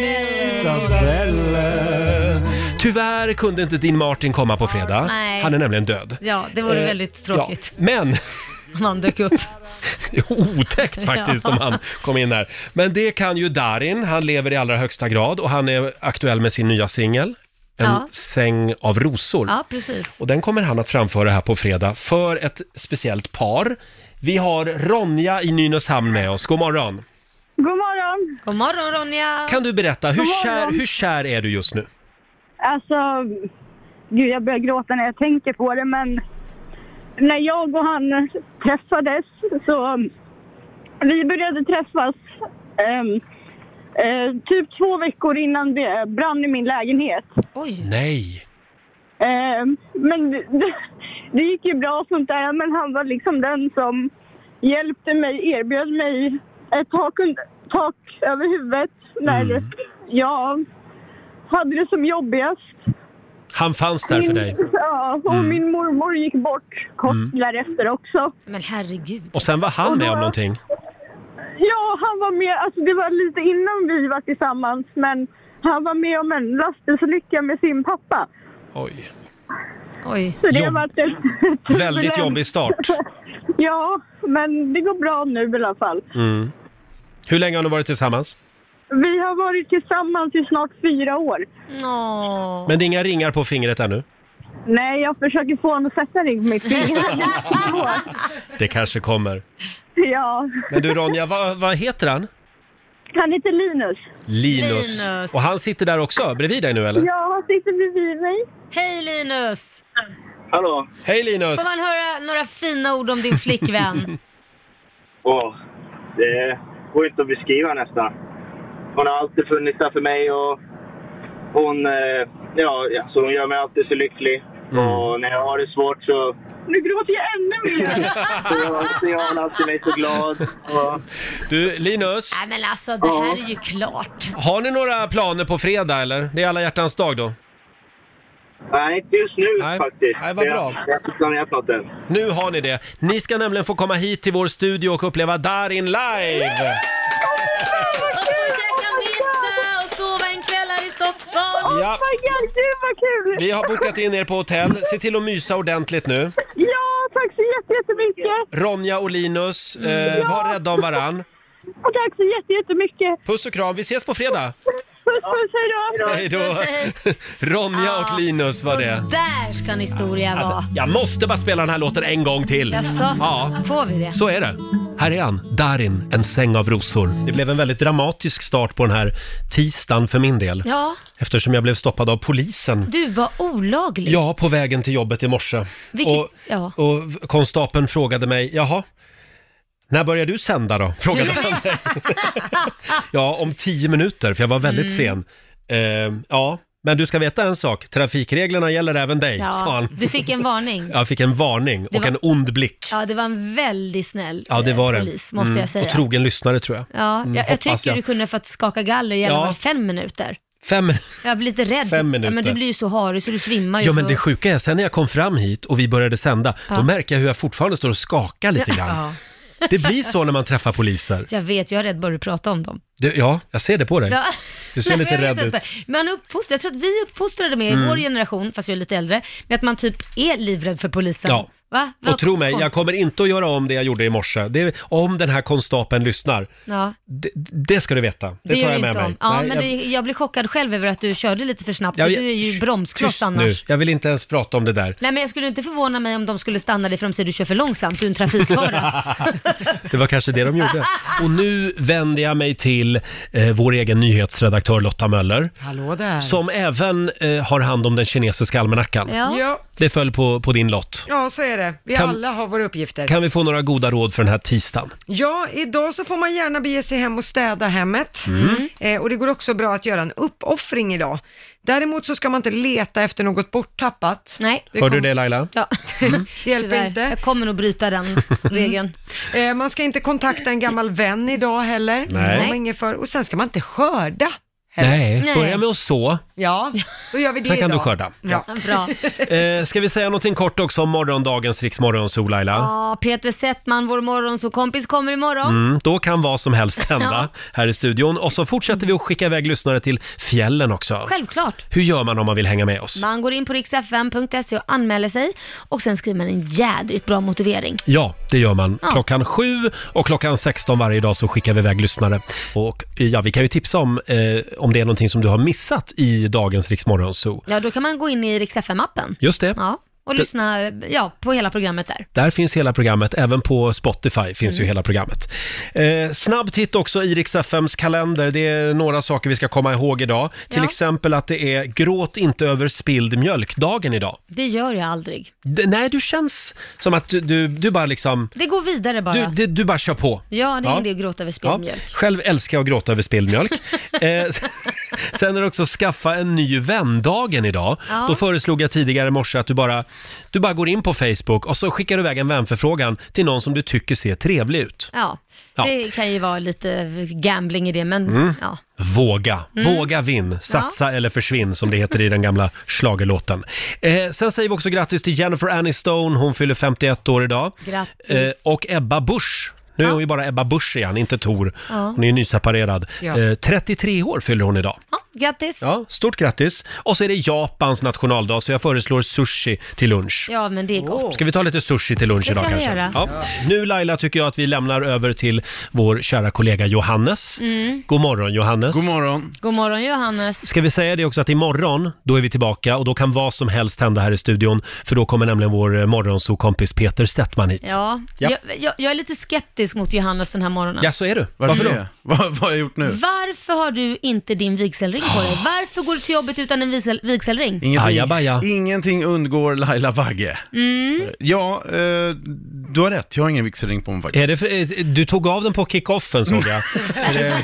[SPEAKER 11] bell.
[SPEAKER 1] Tyvärr kunde inte din Martin komma på fredag.
[SPEAKER 2] Nej.
[SPEAKER 1] Han är nämligen död.
[SPEAKER 2] Ja, det vore
[SPEAKER 1] Eh,
[SPEAKER 2] väldigt tråkigt
[SPEAKER 1] Ja, men
[SPEAKER 2] om han dök upp.
[SPEAKER 1] otäckt faktiskt
[SPEAKER 2] Ja.
[SPEAKER 1] om han kom in där. Men det kan ju Darin, han lever i allra högsta grad och han är aktuell med sin nya singel, En
[SPEAKER 2] Ja.
[SPEAKER 1] säng av rosor.
[SPEAKER 2] Ja, precis.
[SPEAKER 1] Och den kommer han att framföra här på fredag för ett speciellt par. Vi har Ronja i Nynäshamn med oss. God morgon!
[SPEAKER 12] God morgon!
[SPEAKER 2] God morgon Ronja!
[SPEAKER 1] Kan du berätta, hur
[SPEAKER 12] God
[SPEAKER 1] kär,
[SPEAKER 12] morgon.
[SPEAKER 1] hur kär är du just nu?
[SPEAKER 12] Alltså, gud jag börjar gråta när jag tänker på det men när jag och han träffades så um, vi började träffas ehm, eh, typ två veckor innan det brann i min lägenhet.
[SPEAKER 1] Nej!
[SPEAKER 12] Ehm, men det, det gick ju bra och sånt där men han var liksom den som hjälpte mig, erbjöd mig ett tak, und- tak över huvudet när jag hade det som jobbigast.
[SPEAKER 1] Han fanns där för
[SPEAKER 12] Min-
[SPEAKER 1] dig.
[SPEAKER 12] Ja, och
[SPEAKER 1] Mm.
[SPEAKER 12] min mormor gick bort kort
[SPEAKER 1] Mm.
[SPEAKER 12] därefter också.
[SPEAKER 2] Men herregud.
[SPEAKER 1] Och sen var han med om någonting.
[SPEAKER 12] Ja, han var med, alltså det var lite innan vi var tillsammans, men han var med om en lastbilsolycka med sin pappa.
[SPEAKER 1] Oj.
[SPEAKER 2] Oj.
[SPEAKER 12] Så det har
[SPEAKER 1] Jobb-
[SPEAKER 12] varit ett turbulent-
[SPEAKER 1] Väldigt jobbig start.
[SPEAKER 12] Ja, men det går bra nu i alla fall.
[SPEAKER 1] Mm. Hur länge har ni varit tillsammans?
[SPEAKER 12] Vi har varit tillsammans i snart fyra år.
[SPEAKER 1] Men det är inga ringar på fingret ännu?
[SPEAKER 12] Nej, jag försöker få honom att sätta ring på mitt finger.
[SPEAKER 1] Det kanske kommer.
[SPEAKER 12] ja.
[SPEAKER 1] Men du Ronja, vad, vad heter han?
[SPEAKER 12] Han heter Linus.
[SPEAKER 1] Linus.
[SPEAKER 2] Linus.
[SPEAKER 1] Och han sitter där också, bredvid dig nu eller?
[SPEAKER 12] Ja, han sitter bredvid mig.
[SPEAKER 2] Hej Linus!
[SPEAKER 13] Hallå?
[SPEAKER 1] Hej Linus!
[SPEAKER 2] Får man höra några fina ord om din flickvän?
[SPEAKER 13] Åh, det går inte att beskriva nästan. Hon har alltid funnits där för mig och hon, eh, ja, ja, så hon gör mig alltid så lycklig. Och när jag har det svårt så,
[SPEAKER 12] Nu gråter jag ännu mer!
[SPEAKER 13] så, så gör hon alltid mig så glad. Och,
[SPEAKER 1] Mm. Du Linus,
[SPEAKER 2] Nej men alltså det här är ju klart.
[SPEAKER 1] har ni några planer på fredag eller? Det är alla hjärtans dag då.
[SPEAKER 13] nej, inte just nu
[SPEAKER 1] Nej,
[SPEAKER 13] faktiskt.
[SPEAKER 1] nej, vad bra.
[SPEAKER 13] Jag, jag har inte planerat något än.
[SPEAKER 1] Nu har ni det. Ni ska nämligen få komma hit till vår studio och uppleva Darin live!
[SPEAKER 2] Och få käka middag och sova en kväll här i Stockholm.
[SPEAKER 1] Ja.
[SPEAKER 12] Oh my god, gud vad kul!
[SPEAKER 1] Vi har bokat in er på hotell. Se till att mysa ordentligt nu.
[SPEAKER 12] Ja, tack så jätte- jättemycket!
[SPEAKER 1] Ronja och Linus, eh, var rädda om varann.
[SPEAKER 12] Och tack så jätte- jättemycket!
[SPEAKER 1] Puss och kram, vi ses på fredag!
[SPEAKER 12] Puss, puss, hejdå!
[SPEAKER 1] Hej då! Ronja och Linus var det. Alltså,
[SPEAKER 2] Där ska en historia vara.
[SPEAKER 1] Jag måste bara spela den här låten en gång till.
[SPEAKER 2] Jaså?
[SPEAKER 1] Ja.
[SPEAKER 2] Får vi det?
[SPEAKER 1] Så är det. Här är han, Darin, En säng av rosor. Det blev en väldigt dramatisk start på den här tisdagen för min del.
[SPEAKER 2] Ja,
[SPEAKER 1] Eftersom jag blev stoppad av polisen.
[SPEAKER 2] du var olaglig.
[SPEAKER 1] Ja, på vägen till jobbet i morse.
[SPEAKER 2] Vilket,
[SPEAKER 1] Och,
[SPEAKER 2] ja.
[SPEAKER 1] och konstapeln frågade mig, jaha, när börjar du sända då? Frågade han mig. ja, om tio minuter, för jag var väldigt
[SPEAKER 2] Mm.
[SPEAKER 1] sen. Ehm, ja, men du ska veta en sak, trafikreglerna gäller även dig, sa
[SPEAKER 2] ja.
[SPEAKER 1] han.
[SPEAKER 2] Du fick en varning.
[SPEAKER 1] Jag fick en varning
[SPEAKER 2] Det
[SPEAKER 1] och
[SPEAKER 2] var-
[SPEAKER 1] en ond blick.
[SPEAKER 2] Ja, det var en väldigt snäll
[SPEAKER 1] Ja, det
[SPEAKER 2] eh,
[SPEAKER 1] var det.
[SPEAKER 2] polis, måste
[SPEAKER 1] Mm,
[SPEAKER 2] jag säga.
[SPEAKER 1] Och trogen lyssnare tror jag.
[SPEAKER 2] Ja,
[SPEAKER 1] Mm,
[SPEAKER 2] jag, jag
[SPEAKER 1] hoppas
[SPEAKER 2] tycker
[SPEAKER 1] jag.
[SPEAKER 2] du kunde ha fått skaka galler i alla
[SPEAKER 1] Ja.
[SPEAKER 2] fall fem minuter.
[SPEAKER 1] Fem...
[SPEAKER 2] Jag blir lite rädd.
[SPEAKER 1] Fem
[SPEAKER 2] Ja, men
[SPEAKER 1] minuter.
[SPEAKER 2] du blir ju så harig så du svimmar ju.
[SPEAKER 1] Ja, men
[SPEAKER 2] så-
[SPEAKER 1] det sjuka är, sen när jag kom fram hit och vi började sända,
[SPEAKER 2] Ja.
[SPEAKER 1] då märker jag hur jag fortfarande står och skakar lite grann. Det blir så när man träffar poliser.
[SPEAKER 2] Jag vet, jag är rädd bara du pratar om dem.
[SPEAKER 1] Du, ja, jag ser det på dig.
[SPEAKER 2] Ja.
[SPEAKER 1] Du ser
[SPEAKER 2] Nej,
[SPEAKER 1] lite
[SPEAKER 2] men jag
[SPEAKER 1] rädd
[SPEAKER 2] vet
[SPEAKER 1] ut.
[SPEAKER 2] inte. Man uppfostrar, jag tror att vi uppfostrade med
[SPEAKER 1] Mm.
[SPEAKER 2] i vår generation, fast vi är lite äldre, med att man typ är livrädd för polisen.
[SPEAKER 1] Ja.
[SPEAKER 2] Va? Vad
[SPEAKER 1] Och tro mig, jag
[SPEAKER 2] konstigt.
[SPEAKER 1] kommer inte att göra om det jag gjorde i morse. Det, om den här konstapeln lyssnar,
[SPEAKER 2] Ja.
[SPEAKER 1] det, det ska du veta. Det, tar
[SPEAKER 2] gör
[SPEAKER 1] jag
[SPEAKER 2] du
[SPEAKER 1] med
[SPEAKER 2] inte
[SPEAKER 1] mig.
[SPEAKER 2] om. Ja,
[SPEAKER 1] Nej,
[SPEAKER 2] men
[SPEAKER 1] jag-
[SPEAKER 2] det, jag blir chockad själv över att du körde lite för snabbt,
[SPEAKER 1] Ja,
[SPEAKER 2] för
[SPEAKER 1] jag-
[SPEAKER 2] du är ju bromskloss
[SPEAKER 1] Tyst nu,
[SPEAKER 2] annars.
[SPEAKER 1] jag vill inte ens prata om det där.
[SPEAKER 2] Nej men jag skulle inte förvåna mig om de skulle stanna dig för de säger du kör för långsamt, du är en trafikfara.
[SPEAKER 1] Det var kanske det de gjorde. Och nu vänder jag mig till eh, vår egen nyhetsredaktör Lotta Möller.
[SPEAKER 3] Hallå där.
[SPEAKER 1] Som även eh, har hand om den kinesiska almanackan.
[SPEAKER 3] Ja. Ja.
[SPEAKER 1] Det föll på, på din lott.
[SPEAKER 3] Ja, så är det. Vi
[SPEAKER 1] Kan-
[SPEAKER 3] alla har våra uppgifter.
[SPEAKER 1] Kan vi få några goda råd för den här tisdagen?
[SPEAKER 3] Ja, idag så får man gärna bege sig hem och städa hemmet.
[SPEAKER 1] Mm.
[SPEAKER 3] Eh, och det går också bra att göra en uppoffring idag. Däremot så ska man inte leta efter något borttappat. Mm.
[SPEAKER 2] Nej.
[SPEAKER 1] Hörde du det Laila? Mm.
[SPEAKER 2] Ja.
[SPEAKER 3] Det hjälper
[SPEAKER 2] Tyvärr.
[SPEAKER 3] inte.
[SPEAKER 2] Jag kommer nog bryta den regeln.
[SPEAKER 3] Eh, man ska inte kontakta en gammal vän idag heller.
[SPEAKER 1] Nej.
[SPEAKER 3] Om man inget för. Och sen ska man inte skörda.
[SPEAKER 1] Nej,
[SPEAKER 3] Nej.
[SPEAKER 1] börja med att så.
[SPEAKER 3] Ja, då gör vi det
[SPEAKER 1] Sen kan
[SPEAKER 3] idag.
[SPEAKER 1] du skörda.
[SPEAKER 3] Ja.
[SPEAKER 2] Bra.
[SPEAKER 1] Eh, ska vi säga någonting kort också om morgondagens riksmorgonzoo Laila?
[SPEAKER 2] Ja, Peter Settman, vår morgonsåkompis, kommer imorgon.
[SPEAKER 1] Mm, då kan vad som helst hända
[SPEAKER 2] Ja.
[SPEAKER 1] här i studion. Och så fortsätter vi att skicka iväg lyssnare till fjällen också.
[SPEAKER 2] Självklart.
[SPEAKER 1] Hur gör man om man vill hänga med oss?
[SPEAKER 2] Man går in på riksfm.se och anmäler sig och sen skriver man en jädrigt bra motivering.
[SPEAKER 1] Ja, det gör man.
[SPEAKER 2] Ja.
[SPEAKER 1] Klockan 7 och klockan 16 varje dag så skickar vi iväg lyssnare. Och eh, ja, vi kan ju tipsa om, eh, om det är någonting som du har missat i dagens Riksmorgonzoo.
[SPEAKER 2] Ja, då kan man gå in i riksfm-appen.
[SPEAKER 1] Just det.
[SPEAKER 2] Ja, och
[SPEAKER 1] Det-
[SPEAKER 2] lyssna ja, på hela programmet där.
[SPEAKER 1] Där finns hela programmet, även på Spotify finns ju
[SPEAKER 2] Mm.
[SPEAKER 1] hela programmet. Eh, snabb titt också i Rix FMs kalender, det är några saker vi ska komma ihåg idag. Till
[SPEAKER 2] Ja.
[SPEAKER 1] exempel att det är gråt inte över spilld mjölk-dagen idag.
[SPEAKER 2] Det gör jag aldrig.
[SPEAKER 1] D- nej, du känns som att du, du, du bara liksom,
[SPEAKER 2] Det går vidare bara.
[SPEAKER 1] du, du, du bara kör på.
[SPEAKER 2] Ja, det är ingen idé att gråta över
[SPEAKER 1] Ja.
[SPEAKER 2] spillmjölk. mjölk.
[SPEAKER 1] Själv älskar jag att gråta över spilld mjölk. eh, sen är det också skaffa en ny vän-dagen idag.
[SPEAKER 2] Ja.
[SPEAKER 1] Då föreslog jag tidigare i morse att du bara, du bara går in på Facebook och så skickar du iväg en vänförfrågan till någon som du tycker ser trevlig ut.
[SPEAKER 2] Ja.
[SPEAKER 1] Ja.
[SPEAKER 2] det kan ju vara lite gambling i det, men
[SPEAKER 1] Mm.
[SPEAKER 2] ja.
[SPEAKER 1] Våga,
[SPEAKER 2] Mm.
[SPEAKER 1] våga vinn, satsa eller försvinn som det heter i den gamla schlagerlåten. Eh, sen säger vi också grattis till Jennifer Aniston, hon fyller 51 år idag.
[SPEAKER 2] Grattis.
[SPEAKER 1] Eh, och Ebba Busch. Nu är hon ju bara Ebba Busch igen, inte Tor.
[SPEAKER 2] Ja.
[SPEAKER 1] Hon är ju nyseparerad.
[SPEAKER 2] Ja.
[SPEAKER 1] Eh, 33 år fyller hon idag.
[SPEAKER 2] Ja, grattis. Ja.
[SPEAKER 1] Ja, stort grattis. Och så är det Japans nationaldag, så jag föreslår sushi till lunch.
[SPEAKER 2] men det är gott.
[SPEAKER 1] Ska vi ta lite sushi till lunch
[SPEAKER 2] Det
[SPEAKER 1] idag
[SPEAKER 2] kan vi
[SPEAKER 1] kanske?
[SPEAKER 2] göra.
[SPEAKER 1] Ja. Nu Laila tycker jag att vi lämnar över till vår kära kollega Johannes.
[SPEAKER 2] Mm.
[SPEAKER 1] God morgon Johannes. God
[SPEAKER 7] morgon.
[SPEAKER 2] God morgon Johannes.
[SPEAKER 1] Ska vi säga det också att imorgon, då är vi tillbaka och då kan vad som helst hända här i studion. För då kommer nämligen vår eh, morgonsokompis Peter Settman hit.
[SPEAKER 2] Ja,
[SPEAKER 1] Ja.
[SPEAKER 2] Jag, jag, jag är lite skeptisk mot Johannes den här morgonen.
[SPEAKER 1] Ja, så är du.
[SPEAKER 7] Varför
[SPEAKER 1] då?
[SPEAKER 7] det? Vad, vad har jag gjort nu?
[SPEAKER 2] Varför har du inte din vigselring på dig? Varför går du till jobbet utan en visel, vigselring?
[SPEAKER 10] ingenting undgår Laila Bagge.
[SPEAKER 2] Mm.
[SPEAKER 10] Ja, eh, du har rätt. Jag har ingen vigselring på mig faktiskt.
[SPEAKER 1] Är det för, eh, du tog av den på kickoffen såg jag. Är det-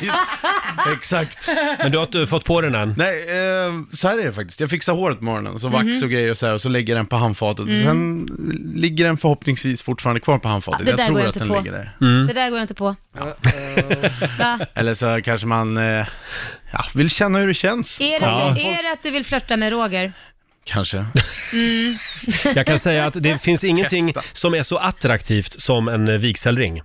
[SPEAKER 10] Exakt.
[SPEAKER 1] Men du har inte fått på den än?
[SPEAKER 10] Nej, eh, så här är det faktiskt. Jag fixar håret på morgonen, så
[SPEAKER 2] Mhm.
[SPEAKER 10] vax och grejer och så här, och så lägger jag den på handfatet.
[SPEAKER 2] Mm.
[SPEAKER 10] Sen ligger den förhoppningsvis fortfarande kvar på handfatet.
[SPEAKER 2] Det
[SPEAKER 10] jag
[SPEAKER 2] där
[SPEAKER 10] tror
[SPEAKER 2] går jag
[SPEAKER 10] att
[SPEAKER 2] inte
[SPEAKER 10] den
[SPEAKER 2] på. Mm.
[SPEAKER 10] ligger där.
[SPEAKER 1] Mm.
[SPEAKER 2] Det där går jag inte på. Va?
[SPEAKER 10] Eller så kanske man eh, ja, vill känna hur det känns.
[SPEAKER 2] Är det,
[SPEAKER 10] Ja.
[SPEAKER 2] är det att du vill flörta med Roger?
[SPEAKER 10] Kanske.
[SPEAKER 2] Mm.
[SPEAKER 1] Jag kan säga att det finns ingenting som är så attraktivt som en eh, vigselring.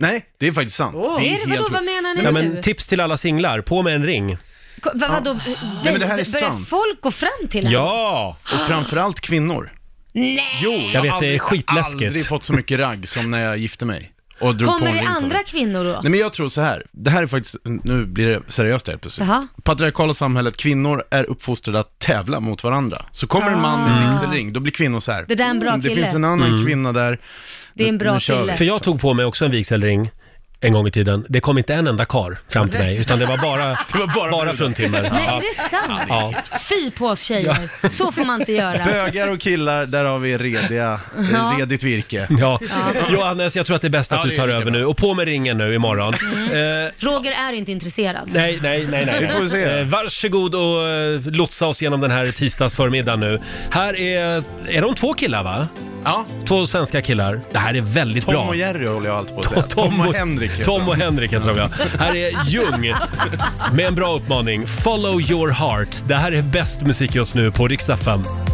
[SPEAKER 10] Nej, det är faktiskt sant.
[SPEAKER 2] Åh. Är det- vadå, vad menar ni
[SPEAKER 1] ja,
[SPEAKER 2] nu?
[SPEAKER 1] men, Tips till alla singlar, på med en ring.
[SPEAKER 2] Ko- Va, vadå?
[SPEAKER 10] Nej, men det här är
[SPEAKER 2] Börjar
[SPEAKER 10] sant.
[SPEAKER 2] folk gå fram till en?
[SPEAKER 1] Ja!
[SPEAKER 10] Och framförallt kvinnor.
[SPEAKER 2] Nej!
[SPEAKER 10] Jo,
[SPEAKER 1] Jag vet, det är
[SPEAKER 10] Jag
[SPEAKER 1] skitläskigt.
[SPEAKER 10] har aldrig fått så mycket ragg som när jag gifte mig. Och drog på
[SPEAKER 2] Kommer
[SPEAKER 10] en
[SPEAKER 2] det
[SPEAKER 10] ring på mig.
[SPEAKER 2] andra kvinnor då?
[SPEAKER 10] Nej men jag tror så här, det här är faktiskt, nu blir det seriöst här plötsligt.
[SPEAKER 2] Jaha.
[SPEAKER 10] Patriarkala samhället, kvinnor är uppfostrade att tävla mot varandra. Så kommer en man med
[SPEAKER 2] Ah.
[SPEAKER 10] en vigselring, då blir kvinnor så här,
[SPEAKER 2] Det där är en bra
[SPEAKER 10] "Mm, det
[SPEAKER 2] kille."
[SPEAKER 10] finns en annan
[SPEAKER 1] Mm.
[SPEAKER 10] kvinna där.
[SPEAKER 2] Det är en bra kille.
[SPEAKER 1] För jag tog på mig också en vigselring en gång i tiden. Det kom inte en enda kar fram till mig, utan det var bara, det var bara, fruntimmer.
[SPEAKER 2] Nej,
[SPEAKER 1] Ja.
[SPEAKER 2] är det sant?
[SPEAKER 1] Ja.
[SPEAKER 2] Fy på oss tjejer. Så får man inte göra.
[SPEAKER 10] Bögar och killar, där har vi rediga, eh,
[SPEAKER 2] Ja.
[SPEAKER 10] redigt virke.
[SPEAKER 1] Ja. Johannes, jag tror att det är bäst att
[SPEAKER 10] Ja,
[SPEAKER 1] du
[SPEAKER 10] det
[SPEAKER 1] tar
[SPEAKER 10] är
[SPEAKER 1] över nu. Och på med ringen nu imorgon.
[SPEAKER 2] Mm.
[SPEAKER 1] Eh,
[SPEAKER 2] Roger är inte intresserad.
[SPEAKER 1] Nej, nej, nej, nej.
[SPEAKER 2] Vi får se.
[SPEAKER 1] Eh, varsågod och eh, lotsa oss genom den här tisdagsförmiddagen nu. Här är, är de två killar va?
[SPEAKER 10] Ja.
[SPEAKER 1] Två svenska killar. Det här är väldigt
[SPEAKER 10] Tom
[SPEAKER 1] bra.
[SPEAKER 10] och Jerry håller jag alltid på att säga.
[SPEAKER 1] Tom och
[SPEAKER 10] Henrik heter
[SPEAKER 1] Tom
[SPEAKER 10] de.
[SPEAKER 1] och Henrik heter de ja. Här är Ljung med en bra uppmaning. Follow your heart. Det här är bäst musik just nu på Riksaffären.